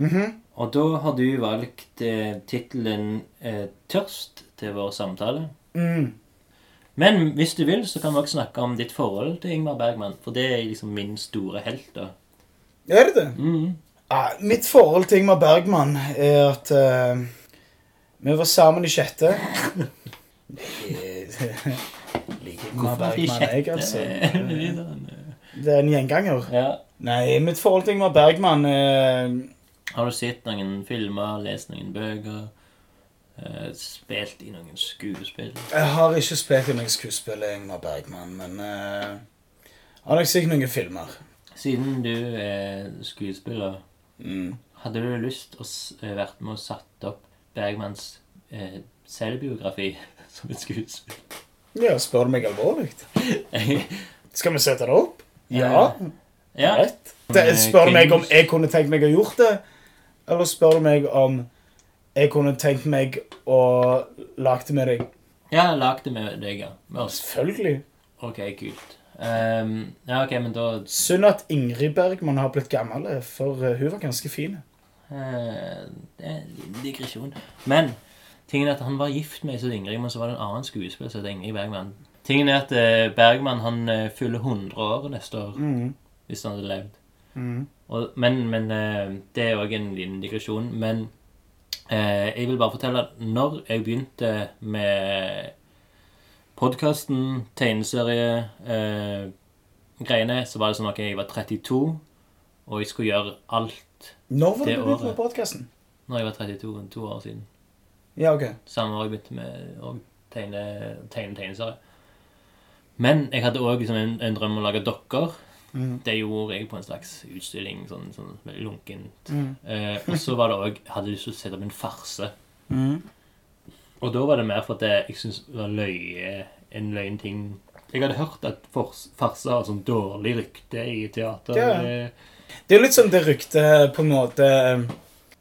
Speaker 2: Mhm.
Speaker 1: Og da har du valgt eh, tittelen eh, 'Tørst' til vår samtale.
Speaker 2: Mm.
Speaker 1: Men hvis du vil, så kan vi også snakke om ditt forhold til Ingmar Bergman. For det er liksom min store helt, da.
Speaker 2: Er det det?
Speaker 1: Mm.
Speaker 2: Ja, mitt forhold til Ingmar Bergman er at eh, vi var sammen i sjette. Nei, Liker Ingmar Bergman jeg, altså. Det er en gjenganger.
Speaker 1: [laughs] ja.
Speaker 2: Nei, mitt forhold til Ingmar Bergman eh, er
Speaker 1: Har du sett noen filmer, lest noen bøker, eh, spilt i noen skuespill?
Speaker 2: Jeg har ikke spilt i noe skuespill i Ingmar Bergman, men eh, har nok sikkert noen filmer.
Speaker 1: Siden du er skuespiller,
Speaker 2: Mm.
Speaker 1: hadde du lyst å s- eh, vært med og satt opp Bergmans eh, selvbiografi [laughs] som et skuespill? [laughs]
Speaker 2: Ja, spør du meg alvorlig? Skal vi sette det opp? Ja.
Speaker 1: Ja. ja.
Speaker 2: Rett. Det,
Speaker 1: Eh,
Speaker 2: spør du meg om jeg kunne tenkt meg å gjort det, eller spør du meg om jeg kunne tenkt meg å lage det med deg?
Speaker 1: Ja, lag det med deg, ja. Med oss.
Speaker 2: Selvfølgelig.
Speaker 1: Ok, kult. Ehm, ja, ok, men da
Speaker 2: Synd at Ingrid Bergman har blitt gammel, for eh, hun var ganske fin.
Speaker 1: Eh, Det er en liten digresjon. Men tingen er at han var gift med Isolde Ingrid, men så var det en annen skuespiller som het Ingrid Bergman. Tingen er at eh, Bergman han eh, fyller 100 år neste år,
Speaker 2: Mm,
Speaker 1: hvis han hadde levd. Og, men men eh, det er òg en liten digresjon. Men eh, jeg vil bare fortelle at når jeg begynte med podkasten, tegneserie, eh, greiene, så var det sånn at jeg var 32, og jeg skulle gjøre alt
Speaker 2: Når var det
Speaker 1: Det
Speaker 2: du begynte med
Speaker 1: året.
Speaker 2: podkasten?
Speaker 1: når jeg var 32, to år siden.
Speaker 2: Ja, OK.
Speaker 1: Samme år jeg begynte med å tegne, tegne tegneserier. Men jeg hadde òg liksom, en, en drøm om å lage dokker. Det gjorde jeg på en slags utstilling. sånn, sånn veldig lunkent.
Speaker 2: Mm.
Speaker 1: Eh, og så var det òg Jeg hadde lyst til å sette opp en farse.
Speaker 2: Mm.
Speaker 1: Og da var det mer for at jeg, jeg syntes det var løye, en løgn ting Jeg hadde hørt at fors- farser har sånn dårlig rykte i teater.
Speaker 2: Ja.
Speaker 1: eh,
Speaker 2: Det er jo litt sånn det ryktet på en måte eh,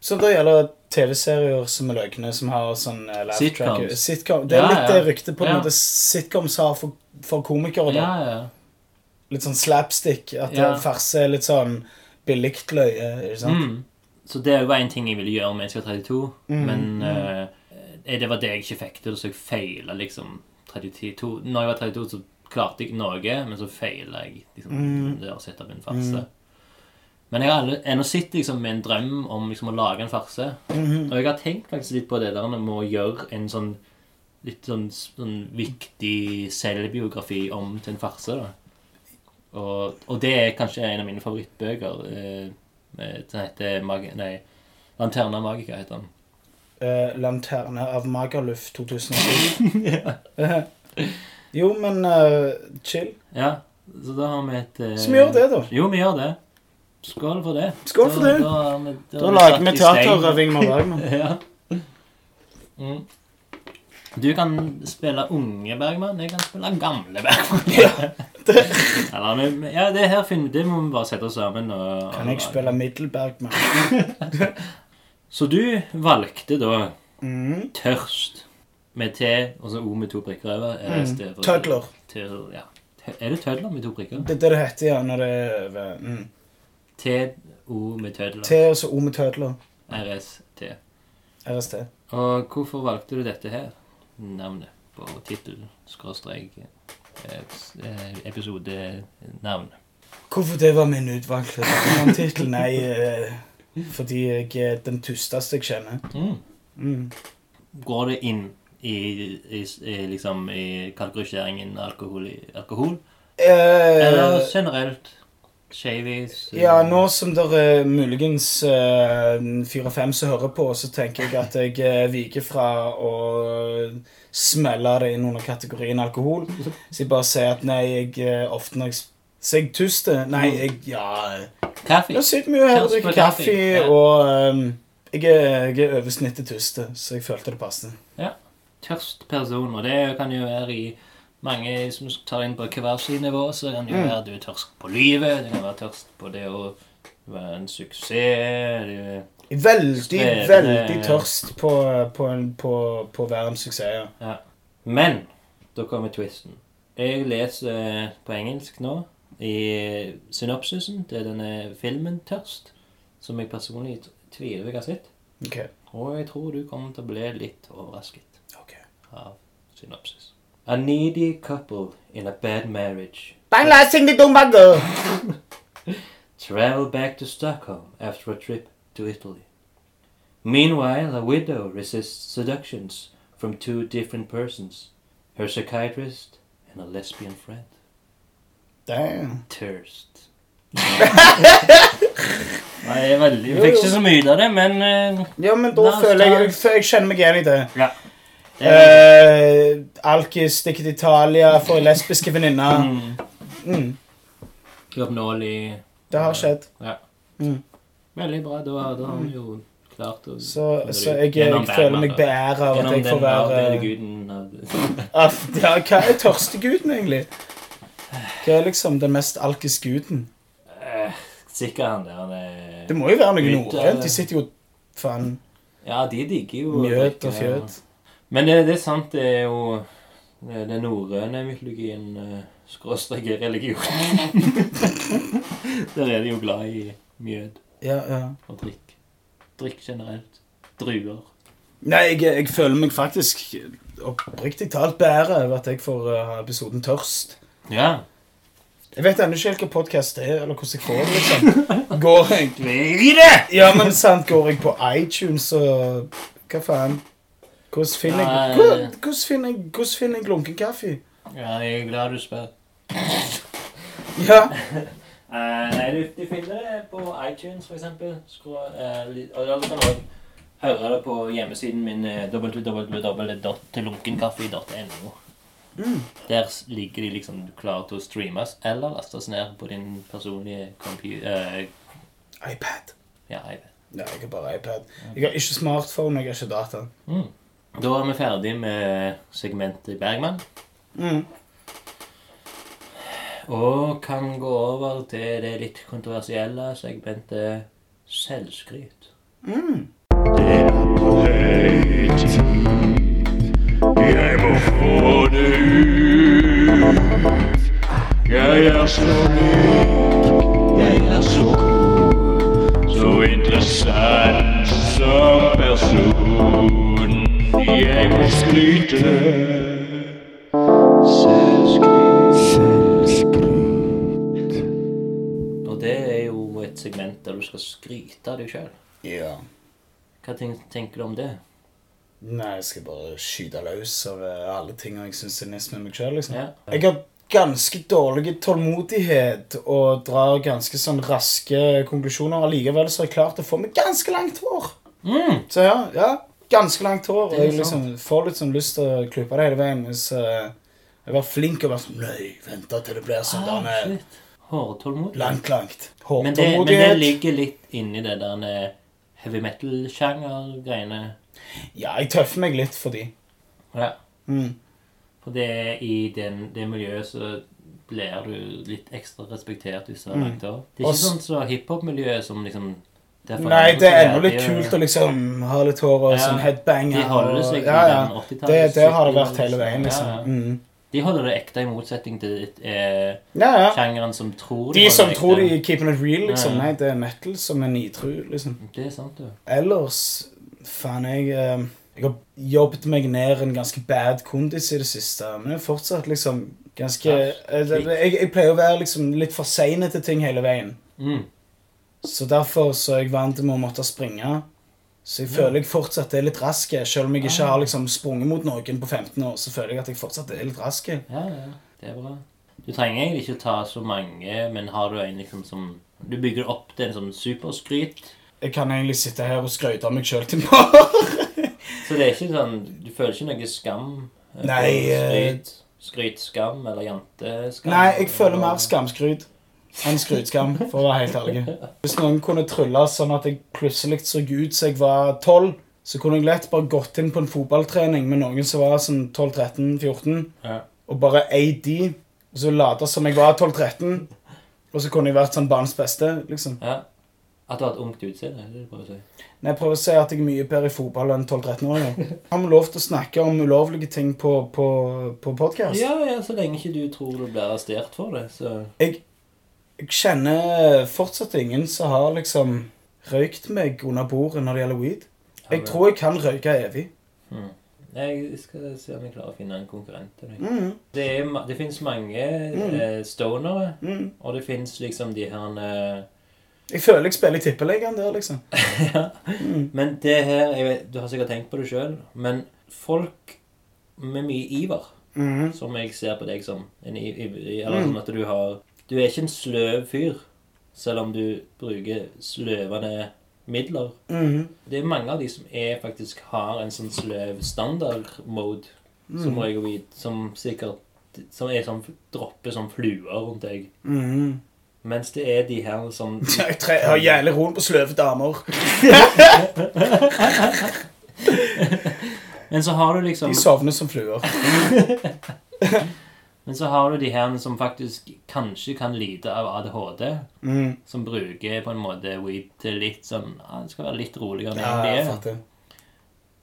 Speaker 2: Som det gjelder TV-serier som er løgne, som har sånn eh, laugh track.
Speaker 1: Sitcoms.
Speaker 2: Sitcom. Det er
Speaker 1: Ja,
Speaker 2: litt
Speaker 1: ja.
Speaker 2: det ryktet på en
Speaker 1: Ja.
Speaker 2: måte sitcoms har for, for komikere. da.
Speaker 1: Ja, ja.
Speaker 2: litt sånn slapstick. At
Speaker 1: Ja.
Speaker 2: det farse er litt sånn billigt løye. ikke sant?
Speaker 1: Mm. Så det var en ting jeg ville gjøre mens jeg var 32, men eh, det var det jeg ikke fikk til, så jeg feila liksom 32. Når jeg var 32, så klarte jeg noe, men så feila jeg liksom, det å sette opp en farse. Men jeg har alle- ennå sittet liksom, med en drøm om liksom, å lage en farse. Og jeg har tenkt faktisk litt på det der med å gjøre en sånn litt sånn, sånn viktig selvbiografi om til en farse. da. Og, og det er kanskje en av mine favorittbøker. Eh, eh, den heter Mag Nei, Lanterna Magica heter den.
Speaker 2: Eh, Lanterne av Magaluf
Speaker 1: [laughs]
Speaker 2: 2007. [laughs] jo, men eh, chill.
Speaker 1: Ja, så da har vi et eh,
Speaker 2: Så vi gjør det, da.
Speaker 1: Jo, vi gjør det. Skål for det.
Speaker 2: Skål for det.
Speaker 1: Da, da, har vi- da,
Speaker 2: Da
Speaker 1: har
Speaker 2: lager
Speaker 1: satt
Speaker 2: vi
Speaker 1: i
Speaker 2: teater
Speaker 1: stein.
Speaker 2: av Ingmar Bergman.
Speaker 1: [laughs] Ja. Mm. Du kan spille unge Bergman, jeg kan spille gamle
Speaker 2: [laughs]
Speaker 1: Bergman. [laughs] Eller, men- ja, det her finner, det må vi bare sette oss sammen og
Speaker 2: Kan jeg
Speaker 1: og-
Speaker 2: spille Middelbergman?
Speaker 1: Så du valgte da
Speaker 2: Mm.
Speaker 1: Tørst. Med T og så O med to prikker over. Er det stedet for-
Speaker 2: Mm. Tødler.
Speaker 1: Tødler, ja. Tø- Er det tødler med to prikker?
Speaker 2: Det er det det heter, ja. Når det er over. mm.
Speaker 1: TO med tødler.
Speaker 2: T og så O med tødler.
Speaker 1: RST.
Speaker 2: RST.
Speaker 1: Og hvorfor valgte du dette her? Navnet på tittelen, skråstrek, eh, s- eh, episodenavn.
Speaker 2: Hvorfor det var min utvalgte tittel? Nei, eh, fordi jeg er den tusteste jeg kjenner.
Speaker 1: Mm.
Speaker 2: Mm.
Speaker 1: Går det inn i, i, i, liksom, i kategoriseringen alkohol, i, alkohol?
Speaker 2: Eh,
Speaker 1: Eller generelt shavies?
Speaker 2: ja, nå som det er muligens eh, fire-fem som hører på, så tenker jeg at jeg eh, viker fra å smelle det inn under kategorien alkohol. Så jeg bare sier at nei, jeg eh, ofte når jeg s- Så jeg tuster. Nei,
Speaker 1: Mm.
Speaker 2: jeg Ja.
Speaker 1: Kaffe?
Speaker 2: Jeg sitter mye her og
Speaker 1: Kaffe
Speaker 2: drikker
Speaker 1: med kaffe,
Speaker 2: kaffe,
Speaker 1: ja.
Speaker 2: og ehm, jeg, er, jeg er over snittet tuste, så jeg følte det passet.
Speaker 1: tørst person, og det kan jo være i mange som tar inn på hver sin nivå, så det kan jo
Speaker 2: Mm.
Speaker 1: være at du er tørst på livet, det kan være tørst på det å være en suksess, det,
Speaker 2: Veldig,
Speaker 1: Spennende.
Speaker 2: veldig tørst på, på, en, på, på å være en suksess. Ja.
Speaker 1: Men da kommer twisten. Jeg leser på engelsk nå i synopsisen til denne filmen Tørst, som jeg personlig t- tviler jeg har sett.
Speaker 2: Ok.
Speaker 1: Og jeg tror du kommer til å bli litt overrasket
Speaker 2: Ok.
Speaker 1: av synopsis. A needy couple in a bad marriage
Speaker 2: Bangla, sing the dumbago!
Speaker 1: travel back to Stockholm after a trip to Italy. Meanwhile, a widow resists seductions from two different persons her psychiatrist and a lesbian friend.
Speaker 2: Damn.
Speaker 1: Tørst. [laughs] Nei, jeg er veldig Jeg fikk ikke så mye ut av det, men eh,
Speaker 2: Ja, men da
Speaker 1: Last
Speaker 2: føler jeg,
Speaker 1: time.
Speaker 2: jeg, jeg kjenner meg igjen i det.
Speaker 1: det er,
Speaker 2: Eh, Alkis stikker til Italia for lesbiske venninner.
Speaker 1: mm,
Speaker 2: Mm,
Speaker 1: Uoppnåelig.
Speaker 2: det har skjedd.
Speaker 1: Veldig bra. Da, da har vi jo klart å
Speaker 2: Så, så jeg, jeg føler meg beæret av at
Speaker 1: altså. Gjennom
Speaker 2: jeg får
Speaker 1: den
Speaker 2: være
Speaker 1: arbeidende guden
Speaker 2: [laughs]
Speaker 1: av-
Speaker 2: At, ja, hva er tørsteguden, egentlig? Hva er liksom den mest alkiske guden?
Speaker 1: Eh, Sikkert han der han er
Speaker 2: Det må jo være noe
Speaker 1: Gud,
Speaker 2: norrønt.
Speaker 1: eh,
Speaker 2: De sitter jo faen
Speaker 1: Ja, de digger jo å
Speaker 2: mjøt
Speaker 1: drikke-
Speaker 2: og fjøt.
Speaker 1: Men det, det er sant, det er jo eh, den norrøne mytologien eh, skråstrek religion. [laughs] Der er de jo glad i mjød
Speaker 2: Ja, ja.
Speaker 1: og drikk. Drikk generelt. Druer.
Speaker 2: Nei, jeg, jeg føler meg faktisk oppriktig talt bedre over at jeg får eh, ha episoden Tørst.
Speaker 1: Ja.
Speaker 2: Jeg vet ennå ikke helt hva podkast det er, eller hvordan jeg får det, liksom.
Speaker 1: [laughs]
Speaker 2: Går jeg
Speaker 1: Glir det!
Speaker 2: Ja, men sant, går jeg på iTunes og Hva faen? Hvordan finner jeg
Speaker 1: Nei.
Speaker 2: Hvordan hvordan finner jeg, hvordan finner jeg lunken kaffe?
Speaker 1: Ja, jeg er glad du spør.
Speaker 2: Ja.
Speaker 1: Eh, nei, du, du finner det på iTunes, for eksempel. Skrå, eh, li- og da kan du også høre det på hjemmesiden min eh, www.lunkenkaffe.no. Der s- ligger de liksom klare til å streames eller lastes ned på din personlige computer eh,
Speaker 2: iPad.
Speaker 1: Ja, iPad.
Speaker 2: Nei, jeg har bare iPad. Jeg har ikke smartphone, jeg har ikke data.
Speaker 1: Mm. Da er vi ferdig med segmentet Bergman.
Speaker 2: Mm.
Speaker 1: Og kan gå over til det litt kontroversielle segmentet selvskryt.
Speaker 5: Det er på høy tid. Jeg må få det ut. Jeg er så myk, jeg er så god, så interessant som person. Jeg må skryte. Selvskryt. Selvskryt.
Speaker 1: Og det er jo et segment der du skal skryte av deg sjøl.
Speaker 2: Ja.
Speaker 1: Hva ten- tenker du om det?
Speaker 2: Nei, jeg skal bare skyte løs av eh, alle ting jeg syns er nest med meg sjøl, liksom.
Speaker 1: Ja.
Speaker 2: Jeg har ganske dårlig tålmodighet og drar ganske sånn raske konklusjoner. Allikevel så har jeg klart å få meg ganske langt hår.
Speaker 1: Mm.
Speaker 2: Så ja, ja, ganske langt hår.
Speaker 1: Det
Speaker 2: Og
Speaker 1: er
Speaker 2: jeg liksom får litt sånn lyst til å klippe det hele veien hvis eh, jeg var flink og bare sånn Nei, vent til det blir sånn
Speaker 1: Ah,
Speaker 2: der med
Speaker 1: shit. Hårtålmodighet.
Speaker 2: langt, langt.
Speaker 1: Men det, men det
Speaker 2: Hårtålmodighet.
Speaker 1: ligger litt inni det der med heavy metal-sjanger-greiene.
Speaker 2: Ja, jeg tøffer meg litt for de.
Speaker 1: Ja.
Speaker 2: Mm.
Speaker 1: For det er i den, det miljøet så blir du litt ekstra respektert hvis du har
Speaker 2: Mm.
Speaker 1: langt hår. Det er ikke
Speaker 2: Også-
Speaker 1: sånn som hiphop-miljøet som liksom der
Speaker 2: Nei,
Speaker 1: forandrer
Speaker 2: det er
Speaker 1: seg.
Speaker 2: ennå litt
Speaker 1: jo-
Speaker 2: kult å liksom ha litt hår og
Speaker 1: Ja,
Speaker 2: sånn headbanger.
Speaker 1: De holder seg
Speaker 2: og, ja,
Speaker 1: i
Speaker 2: ja.
Speaker 1: den 80-tallet.
Speaker 2: Det, det har det vært hele
Speaker 1: Ja,
Speaker 2: veien,
Speaker 1: ja.
Speaker 2: liksom. Mm.
Speaker 1: De holder det ekte i motsetning til eh,
Speaker 2: Ja, ja.
Speaker 1: sjangeren som tror
Speaker 2: De
Speaker 1: holder
Speaker 2: som
Speaker 1: det
Speaker 2: tror de
Speaker 1: ekte.
Speaker 2: er keeping it real, liksom.
Speaker 1: Ja, ja.
Speaker 2: Nei, det er metal som er nitru, liksom.
Speaker 1: Det er sant, du.
Speaker 2: Ellers, faen, jeg eh, Jeg har jobbet meg ned en ganske bad kondis i det siste, men jeg er fortsatt liksom ganske
Speaker 1: Ja,
Speaker 2: eh, det- det- jeg, jeg pleier å være liksom litt for sein til ting hele veien.
Speaker 1: Mm.
Speaker 2: Så derfor så er jeg vant til med å måtte springe. Så jeg føler jeg fortsatt er litt rask. Selv om jeg ikke har liksom sprunget mot noen på 15 år, så føler jeg at jeg fortsatt er litt rask.
Speaker 1: Ja, ja. Det er bra. Du trenger egentlig ikke ta så mange, men har du en liksom som Du bygger opp til en sånn superskryt.
Speaker 2: Jeg kan egentlig sitte her og skryte av meg sjøl til morgen. [laughs]
Speaker 1: Så det er ikke sånn Du føler ikke noe skam? eh,
Speaker 2: Nei, eh,
Speaker 1: Skryt, skrytskam eller janteskam?
Speaker 2: Nei, jeg føler mer skamskryt enn skrytskam, for å være helt ærlig. Hvis noen kunne trylle sånn at jeg plutselig så ut som jeg var 12, så kunne jeg lett bare gått inn på en fotballtrening med noen som var sånn 12-13-14,
Speaker 1: Ja.
Speaker 2: og bare AD, og så late som jeg var 12-13, og så kunne jeg vært sånn barns beste, liksom.
Speaker 1: Ja. At du har et ungt utseende? er Det du prøver å si.
Speaker 2: Nei, jeg prøver å si at jeg er mye bedre i fotball enn 12-13-åringer. Har vi lov til å snakke om ulovlige ting på, på, på podkast?
Speaker 1: Ja, ja, så lenge ikke du tror du blir arrestert for det, så
Speaker 2: Jeg kjenner fortsatt ingen som har liksom røykt meg under bordet når det gjelder weed. Jeg tror jeg kan røyke evig.
Speaker 1: Jeg skal se om jeg klarer å finne en konkurrent til deg.
Speaker 2: Mm,
Speaker 1: Det, er ma- det fins mange
Speaker 2: Mm.
Speaker 1: eh, stonere,
Speaker 2: mm.
Speaker 1: og det fins liksom de her eh,
Speaker 2: Jeg føler jeg spiller i tippeligaen der, liksom.
Speaker 1: [laughs] ja.
Speaker 2: Mm.
Speaker 1: Men det her jeg vet, Du har sikkert tenkt på det sjøl, men folk med mye iver,
Speaker 2: Mm.
Speaker 1: som jeg ser på deg som en i, i, i- Eller
Speaker 2: Mm.
Speaker 1: sånn at du har Du er ikke en sløv fyr, selv om du bruker sløvende midler.
Speaker 2: Mm.
Speaker 1: Det er mange av de som er faktisk har en sånn sløv standard-mode,
Speaker 2: Mm.
Speaker 1: som røyker weed, som sikkert som er sånn, dropper som fluer rundt deg.
Speaker 2: Mm.
Speaker 1: Mens det er de her som
Speaker 2: Jeg tre- jeg har jævlig roen på sløve damer.
Speaker 1: Men så har du liksom
Speaker 2: De sovner som fluer.
Speaker 1: Men så har du de her som faktisk kanskje kan lide av ADHD,
Speaker 2: Mm.
Speaker 1: som bruker på en måte weed til litt sånn ah, Det skal være litt roligere enn
Speaker 2: Ja,
Speaker 1: det
Speaker 2: jeg
Speaker 1: egentlig er.
Speaker 2: fatter.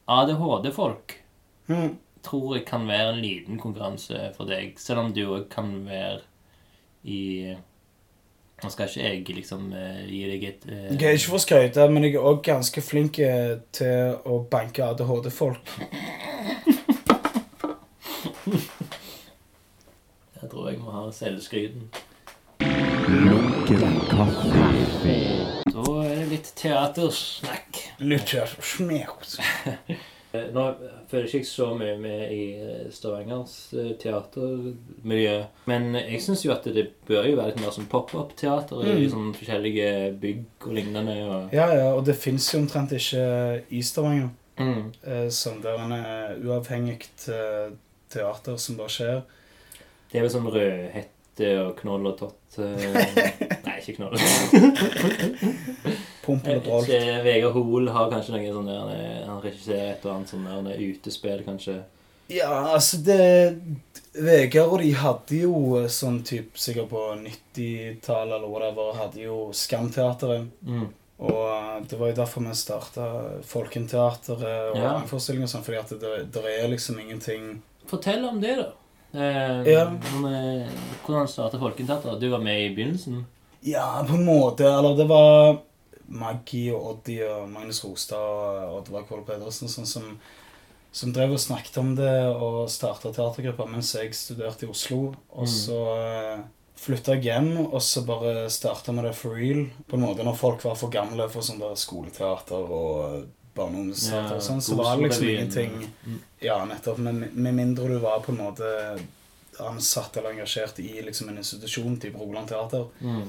Speaker 1: ADHD-folk
Speaker 2: Mm.
Speaker 1: tror jeg kan være en liten konkurranse for deg, selv om du òg kan være i Nå skal ikke jeg liksom eh, gi deg et eh,
Speaker 2: Jeg er ikke for å skryte, men jeg er òg ganske flink eh, til å banke ADHD-folk.
Speaker 1: Jeg tror jeg må ha selvskryten. Da er det litt teatersnakk.
Speaker 2: Lutter. Smert.
Speaker 1: Eh, Nå føler jeg ikke jeg så mye med i eh, Stavangers eh, teatermiljø, men jeg syns jo at det bør jo være litt mer som pop-up-teater i
Speaker 2: Mm.
Speaker 1: sånn forskjellige bygg og lignende. Og,
Speaker 2: Ja, ja, og det fins jo omtrent ikke i Stavanger.
Speaker 1: mm.
Speaker 2: eh, som der en eh, uavhengig eh, teater som bare skjer.
Speaker 1: Det er vel sånn rødhette og knoll og tott eh, Nei, ikke knoll.
Speaker 2: Pumpen
Speaker 1: Ikke-
Speaker 2: og Droll.
Speaker 1: Eh, Vegard Hoel har kanskje noe sånn der eh, Han regisserer et og annet sånn der eh, utespill, kanskje.
Speaker 2: Ja, altså det Vegard og de hadde jo eh, sånn typ sikkert på 90-tallet eller whatever, hadde jo Skamteateret.
Speaker 1: Mm.
Speaker 2: Og eh, det var jo derfor vi starta Folkenteateret og
Speaker 1: Ja.
Speaker 2: forestillinger og sånn, fordi at det, det er liksom ingenting
Speaker 1: Fortell om det, da. Eh,
Speaker 2: Ja.
Speaker 1: om, eh, Hvordan startet Folketeater? Du var med i begynnelsen?
Speaker 2: Ja, på en måte. Eller det var Maggie og Oddi og Magnus Rostad og Oddvar Kvål Pedersen sånn som, som drev og snakket om det og starta teatergruppa mens jeg studerte i Oslo. Og
Speaker 1: Mm.
Speaker 2: så eh, flytta jeg hjem, og så bare starta vi det for real. På en måte når folk var for gamle for sånn der skoleteater og barndomsteater
Speaker 1: Ja,
Speaker 2: og sånn, så
Speaker 1: Oslo
Speaker 2: var det liksom
Speaker 1: Revyen.
Speaker 2: ingenting
Speaker 1: Mm.
Speaker 2: Ja, nettopp. Med, med mindre du var på en måte ansatt eller engasjert i liksom en institusjon, type Rogaland Teater.
Speaker 1: Mm.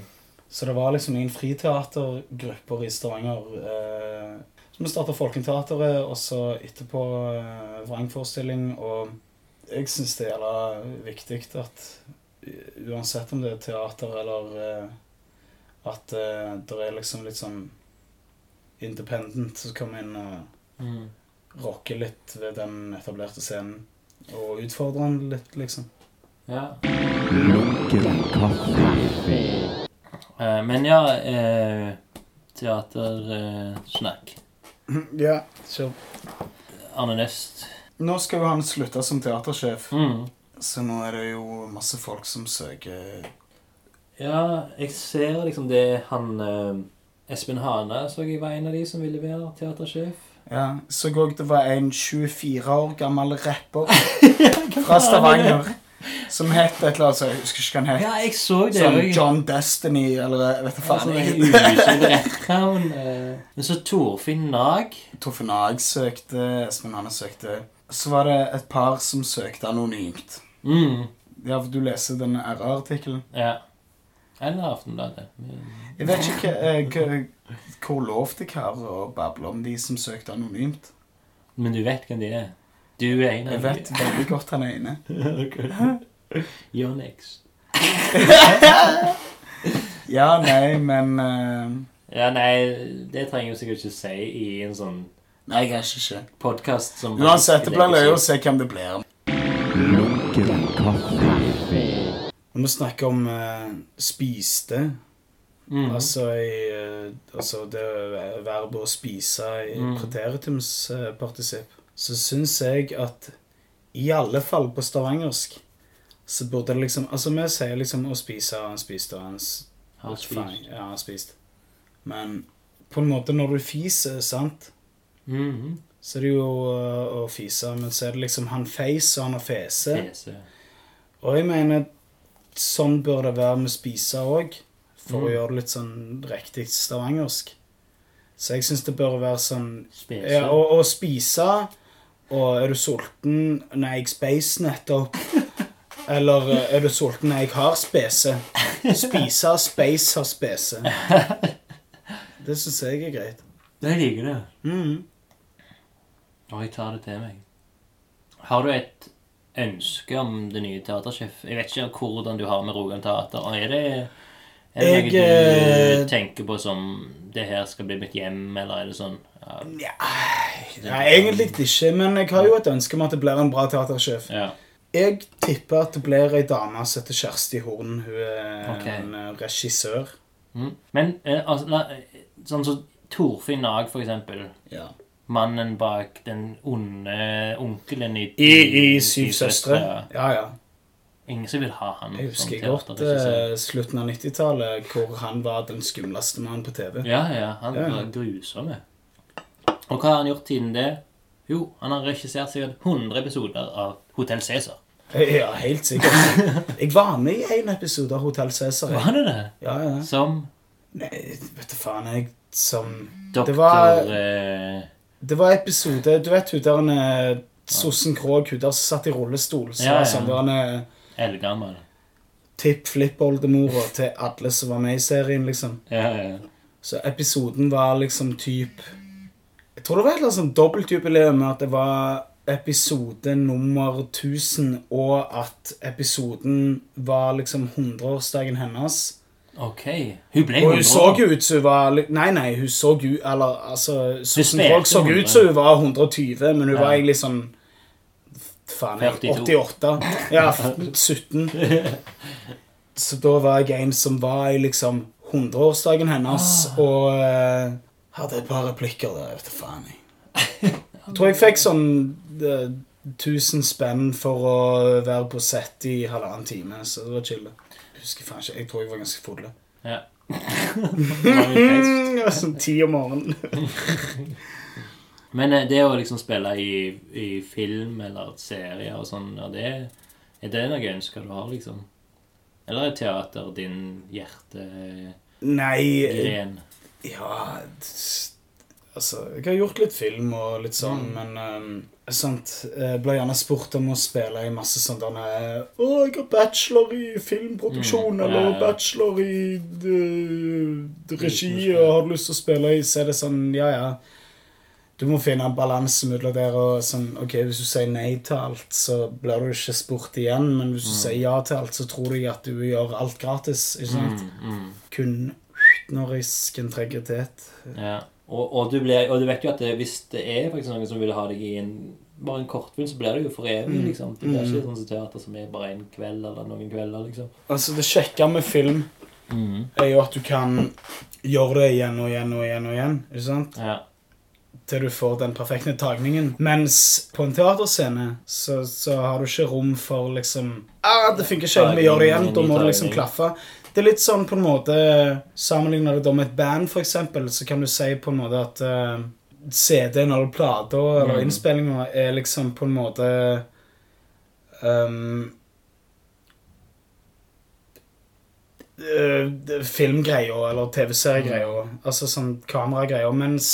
Speaker 2: Så det var liksom ingen friteatergrupper i Stavanger. Eh, så vi starta Folketeateret, og så etterpå eh, Vrangforestilling. Og jeg syns det er jævla viktig at eh, uansett om det er teater eller eh, at eh, det er liksom litt sånn independent, så kan vi inn og
Speaker 1: Mm.
Speaker 2: rocke litt ved den etablerte scenen. Og utfordre den litt, liksom.
Speaker 1: Ja. Eh, men ja eh, Teatersnakk. Eh, snakk.
Speaker 2: [clears throat] Ja, kjør.
Speaker 1: Arne Næst.
Speaker 2: Nå skal jo han slutte som teatersjef.
Speaker 1: Mm.
Speaker 2: Så nå er det jo masse folk som søker
Speaker 1: Ja, jeg ser liksom det han eh, Espen Hane så jeg var en av de som ville være teatersjef.
Speaker 2: Ja, så òg det var en 24 år gammel
Speaker 1: [laughs]
Speaker 2: rapper fra Stavanger som het et eller annet så Jeg husker ikke hva han het.
Speaker 1: Ja, jeg så det.
Speaker 2: Sånn
Speaker 1: jeg-
Speaker 2: John Destiny eller jeg vet du
Speaker 1: Ja, sånn
Speaker 2: faen.
Speaker 1: en [laughs]
Speaker 2: jeg-
Speaker 1: usunn retthavn, eh. Men så Torfinn Nag.
Speaker 2: Torfinn Nag søkte, Espen Hanne søkte. Så var det et par som søkte anonymt.
Speaker 1: Mm,
Speaker 2: Ja, for du leser den RR-artikkelen.
Speaker 1: ja. Eller Aftenbladet. Mm.
Speaker 2: Jeg vet ikke eh, hva- hvor lov det er å bable om de som søkte anonymt.
Speaker 1: Men du vet hvem de er. Du er en
Speaker 2: Jeg
Speaker 1: av
Speaker 2: vet
Speaker 1: [laughs]
Speaker 2: veldig godt han er inne.
Speaker 1: dem. You're next.
Speaker 2: Ja, nei, men eh,
Speaker 1: Ja, nei, det trenger jeg jo sikkert ikke si i en sånn
Speaker 2: Nei, jeg er ikke ikke.
Speaker 1: podkast som
Speaker 2: Uansett, det blir løye å se hvem det blir. Når vi snakker om eh, spiste,
Speaker 1: Mm.
Speaker 2: altså, i, eh, altså det verbet å spise i
Speaker 1: Mhm.
Speaker 2: preteritumspartisipp, så syns jeg at i alle fall på stavangersk så burde det liksom Altså, vi sier liksom 'å spise', 'han spiste', 'han s-
Speaker 1: Har spist.
Speaker 2: faen, Ja, han spiste. Men på en måte, når du fiser, sant
Speaker 1: Mhm.
Speaker 2: så er det jo øh, å fise, men så er det liksom han feis og han har fese.
Speaker 1: Fese.
Speaker 2: Og jeg mener, sånn bør det være med spise òg, for
Speaker 1: Mm.
Speaker 2: å gjøre det litt sånn riktig stavangersk. Så jeg syns det bør være sånn
Speaker 1: Spese.
Speaker 2: ja, og, og spise Og er du sulten? Nei, jeg speis nettopp. Eller øh, er du sulten? Nei, jeg har spese. Spise, speis, har spese. Det syns jeg er greit.
Speaker 1: Jeg liker det.
Speaker 2: Mhm.
Speaker 1: Og jeg tar det til meg. Har du et ønske om det nye teatersjef? Jeg vet ikke hvordan du har med Rogan Teater. Og er det, er det
Speaker 2: Jeg,
Speaker 1: noe
Speaker 2: eh,
Speaker 1: du tenker på som Det her skal bli mitt hjem, eller er det sånn Ja.
Speaker 2: Nei, egentlig ikke, men jeg har jo et ønske om at det blir en bra teatersjef.
Speaker 1: ja.
Speaker 2: Jeg tipper at det blir ei dame som heter Kjersti Horn. Hun er
Speaker 1: Ok.
Speaker 2: en eh, regissør.
Speaker 1: Mm. Men eh, altså, la, sånn som Torfinn Nag, for eksempel.
Speaker 2: Ja.
Speaker 1: Mannen bak den onde onkelen i
Speaker 2: I, I Syv søstre. Ja, ja.
Speaker 1: Ingen som vil ha han.
Speaker 2: Jeg husker
Speaker 1: Mm, som
Speaker 2: godt
Speaker 1: teaterregissør.
Speaker 2: eh, slutten av 90-tallet, hvor han var den skumleste mannen på TV.
Speaker 1: Ja, ja. Han
Speaker 2: eh, Ja.
Speaker 1: var grusom. jeg. Og hva har han gjort siden det? Jo, han har regissert sikkert 100 episoder av Hotell Cæsar.
Speaker 2: [laughs] Ja,
Speaker 1: [laughs]
Speaker 2: helt sikkert. Jeg var med i en episode av Hotell Cæsar. jeg.
Speaker 1: Var det det?
Speaker 2: Ja, ja.
Speaker 1: Som
Speaker 2: Nei, vet du faen, jeg som
Speaker 1: doktor
Speaker 2: var-
Speaker 1: eh,
Speaker 2: Det var episode Du vet hun der en, eh, Sossen Krog, hun der som satt i rullestol, så
Speaker 1: Ja,
Speaker 2: var
Speaker 1: ja.
Speaker 2: sånn der en eh,
Speaker 1: Eldgammel.
Speaker 2: tipp-flipp-oldemora til alle som var med i serien, liksom.
Speaker 1: Ja, ja.
Speaker 2: Så episoden var liksom typ Jeg tror det var et eller annet sånn dobbeltjubileum med at det var episode nummer 1000, og at episoden var liksom 100-årsdagen hennes.
Speaker 1: OK. Hun ble
Speaker 2: Og
Speaker 1: 100
Speaker 2: hun så
Speaker 1: år.
Speaker 2: jo ut som hun var li- Nei, nei, hun så jo Eller altså Susan
Speaker 1: spilte
Speaker 2: Krog så
Speaker 1: 100.
Speaker 2: ut som hun var 120, men hun
Speaker 1: Ja.
Speaker 2: var egentlig sånn Faen, jeg
Speaker 1: 42.
Speaker 2: 88. Ja, f-
Speaker 1: [laughs]
Speaker 2: 17. Så da var jeg en som var i liksom 100-årsdagen hennes,
Speaker 1: Ah.
Speaker 2: og eh, hadde et par replikker der. Jeg vet da faen, jeg.
Speaker 1: [laughs]
Speaker 2: Jeg tror jeg fikk sånn eh, 1000 spenn for å være på sett i halvannen time, så det var chill. Jeg husker faen ikke. Jeg tror jeg var ganske full.
Speaker 1: Ja. [laughs] Mange fest.
Speaker 2: Mm, det var sånn ti om morgenen.
Speaker 1: Men eh, det å liksom spille i, i film eller serier og sånn, er det, er det noe ønsker du har, liksom? Eller er teater din eh, hjertegren?
Speaker 2: Nei Ja t- Altså, jeg har gjort litt film og litt sånn,
Speaker 1: Mm.
Speaker 2: men ehm, sant, jeg ble gjerne spurt om å spille i masse sånn der med, Å, jeg har bachelor i filmproduksjon,
Speaker 1: Mm, ja,
Speaker 2: eller
Speaker 1: ja.
Speaker 2: bachelor i eh, regi,
Speaker 1: Regi,
Speaker 2: og har du lyst til å spille i, så er det sånn, ja, ja. Du må finne en balanse mellom der og sånn Ok, hvis du sier nei til alt, så blir du ikke spurt igjen, men hvis du
Speaker 1: Mm.
Speaker 2: sier ja til alt, så tror de at du gjør alt gratis, ikke sant?
Speaker 1: Mm, mm.
Speaker 2: kun kunstnerisk integritet.
Speaker 1: Ja. Og, og, du blir, og du vet jo at det, hvis det er faktisk noen som vil ha deg i en, bare en kortfilm, så blir det jo for evig. liksom. Det blir ikke sånn som teater som er bare en kveld eller noen kvelder. liksom.
Speaker 2: Altså, det kjekke med film Mm. er jo at du kan gjøre det igjen og igjen og igjen. og igjen, ikke sant?
Speaker 1: Ja.
Speaker 2: til du får den perfekte tagningen. Mens på en teaterscene så, så har du ikke rom for liksom ah, 'Det funker ikke, vi gjør det igjen.' Da må du liksom klaffe. Det er litt sånn på en måte Sammenligner du det med et band, f.eks., så kan du si på en måte at eh, CD-en eller plata eller
Speaker 1: Mm.
Speaker 2: innspillinga er liksom på en måte um, eh, Filmgreier eller TV-seriegreier. Altså sånn kameragreier. Mens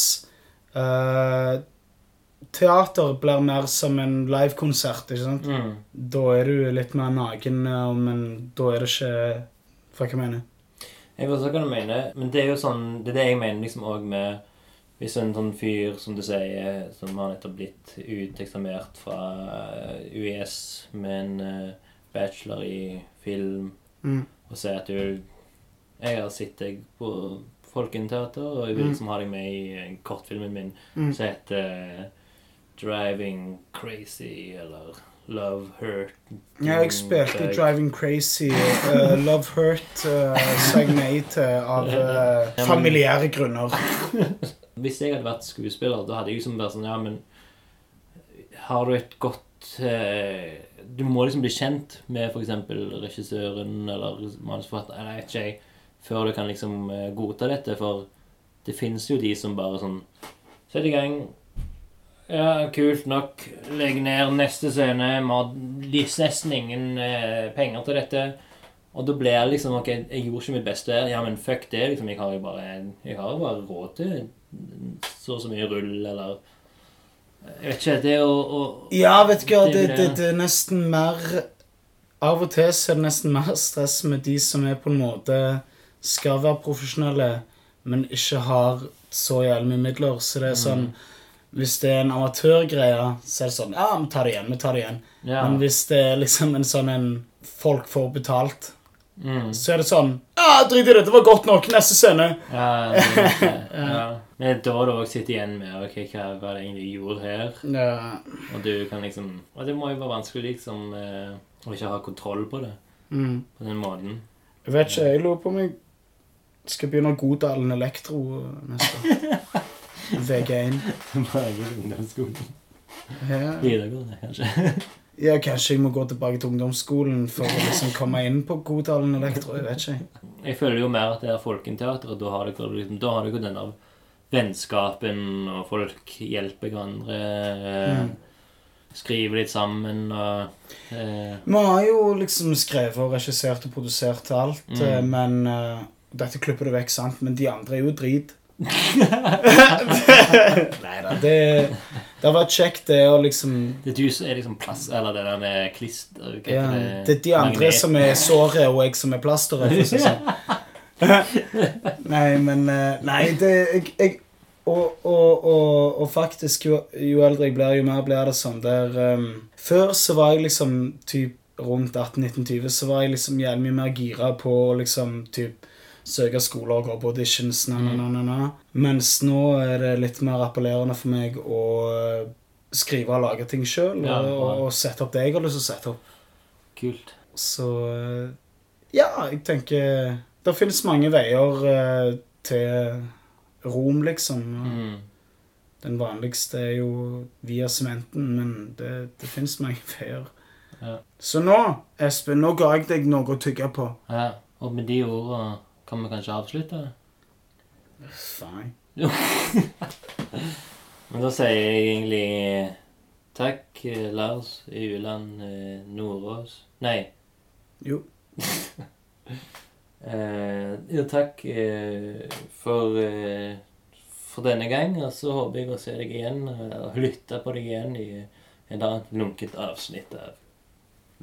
Speaker 2: eh, teater blir mer som en livekonsert, ikke sant?
Speaker 1: Mm.
Speaker 2: Da er du litt mer naken, eh, men da er det ikke Fuck, jeg mener.
Speaker 1: Jeg forstår hva du mener, men det er jo sånn Det er det jeg mener liksom òg med Hvis en sånn fyr, som du sier, som har nettopp blitt uteksamert fra eh, UiS med en eh, bachelor i film,
Speaker 2: Mm.
Speaker 1: og sier at du vil Jeg har sett deg på Folketeater, og jeg vil
Speaker 2: Mm.
Speaker 1: liksom ha deg med i eh, kortfilmen min
Speaker 2: Mm.
Speaker 1: som heter eh, 'Driving Crazy' eller 'Love Hurt'.
Speaker 2: Ja, jeg spilte Driving Crazy, eh, Love Hurt, uh, sang nei til av eh, familiære grunner.
Speaker 1: Hvis jeg hadde vært skuespiller, da hadde jeg liksom vært sånn Ja, men har du et godt eh, Du må liksom bli kjent med f.eks. regissøren eller manusforfatteren, eller jeg vet ikke jeg, før du kan liksom eh, godta dette, for det finnes jo de som bare sånn Sett i gang. Ja, kult nok. Legg ned neste scene. Vi har nesten ingen eh, penger til dette. Og da ble jeg liksom Ok, jeg gjorde ikke mitt beste. Ja, men fuck det. liksom, Jeg har jo bare, jeg har jo bare råd til så og så mye rull, eller Jeg vet ikke. Det å, å
Speaker 2: Ja, vet du hva, det,
Speaker 1: Det-
Speaker 2: det, det er nesten mer Av og til så er det nesten mer stress med de som er på en måte skal være profesjonelle, men ikke har så jævlig mye midler. Så det er sånn Hvis det er en amatørgreie, så er det sånn Ja, vi tar det igjen, vi tar det igjen.
Speaker 1: ja.
Speaker 2: Men hvis det er liksom en sånn en folk får betalt
Speaker 1: mm,
Speaker 2: så er det sånn ah, Drit i det, det var godt nok. Neste scene.
Speaker 1: ja, det er det.
Speaker 2: [laughs]
Speaker 1: ja. Men det er da du også sitter igjen med ok, hva var det egentlig jeg gjorde her?
Speaker 2: Ja.
Speaker 1: Og du kan liksom Og det må jo være vanskelig liksom eh, å ikke ha kontroll på det
Speaker 2: Mm.
Speaker 1: på den
Speaker 2: [laughs]
Speaker 1: måten.
Speaker 2: Jeg vet ikke, jeg lurer på om jeg skal begynne å Godalen Elektro neste år. VG1.
Speaker 6: Ungdomsskolen.
Speaker 2: Ja.
Speaker 1: Videregående, kanskje.
Speaker 2: ja, kanskje jeg må gå tilbake til ungdomsskolen for å liksom komme inn på Godalen Elektro. Jeg vet ikke. jeg.
Speaker 1: Jeg føler jo mer at det er folketeateret. Da har dere liksom, da har dere den der vennskapen, og folk hjelper hverandre. Eh,
Speaker 2: Mm.
Speaker 1: Skriver litt sammen og eh,
Speaker 2: Vi har jo liksom skrevet og regissert og produsert alt,
Speaker 1: Mm.
Speaker 2: eh, men eh, Dette klipper du vekk, sant, men de andre er jo drit. [laughs] Nei da. Det, det har vært kjekt, det å liksom
Speaker 1: Det er du som er liksom plass, eller det der med klister hva heter
Speaker 2: Ja, det er de andre
Speaker 1: Magnet.
Speaker 2: som er såret, og jeg som er plasteret. for å si det
Speaker 1: [laughs]
Speaker 2: sånn. nei, men eh, Nei, det jeg, jeg, og, og, og, og faktisk, jo, jo eldre jeg blir, jo mer blir det sånn der ehm, Før så var jeg liksom typ rundt 18-19-20, så var jeg liksom jævlig mye mer gira på å liksom typ søke skoler og gå på auditions, na, na, na, na, na. Mens nå er det litt mer appellerende for meg å eh, skrive og lage ting sjøl,
Speaker 1: Ja,
Speaker 2: og,
Speaker 1: bra.
Speaker 2: og, og sette opp det jeg har lyst til å sette opp.
Speaker 1: Kult.
Speaker 2: Så eh, ja, jeg tenker Det finnes mange veier eh, til Rom, liksom. Og
Speaker 1: Mm.
Speaker 2: Den vanligste er jo via sementen, men det, det finnes mange [laughs] veier.
Speaker 1: Ja.
Speaker 2: Så nå, Espen, nå ga jeg deg noe å tygge på.
Speaker 1: Ja, og med de ordene kan vi kanskje avslutte?
Speaker 2: Fine.
Speaker 1: Men da sier jeg egentlig eh, takk, eh, Lars Uland eh, Nordås Nei.
Speaker 2: Jo.
Speaker 1: [laughs] Eh, ja, takk eh, for, eh, for denne gang. Og så håper jeg å se deg igjen eh, og lytte på deg igjen i et annet lunkent avsnitt av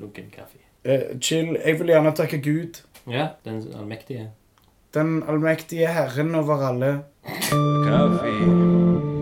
Speaker 1: Lunken kaffe.
Speaker 2: Eh, chill. Jeg vil gjerne takke Gud,
Speaker 1: Ja, den allmektige.
Speaker 2: den allmektige Herren over alle.
Speaker 7: Kaffe.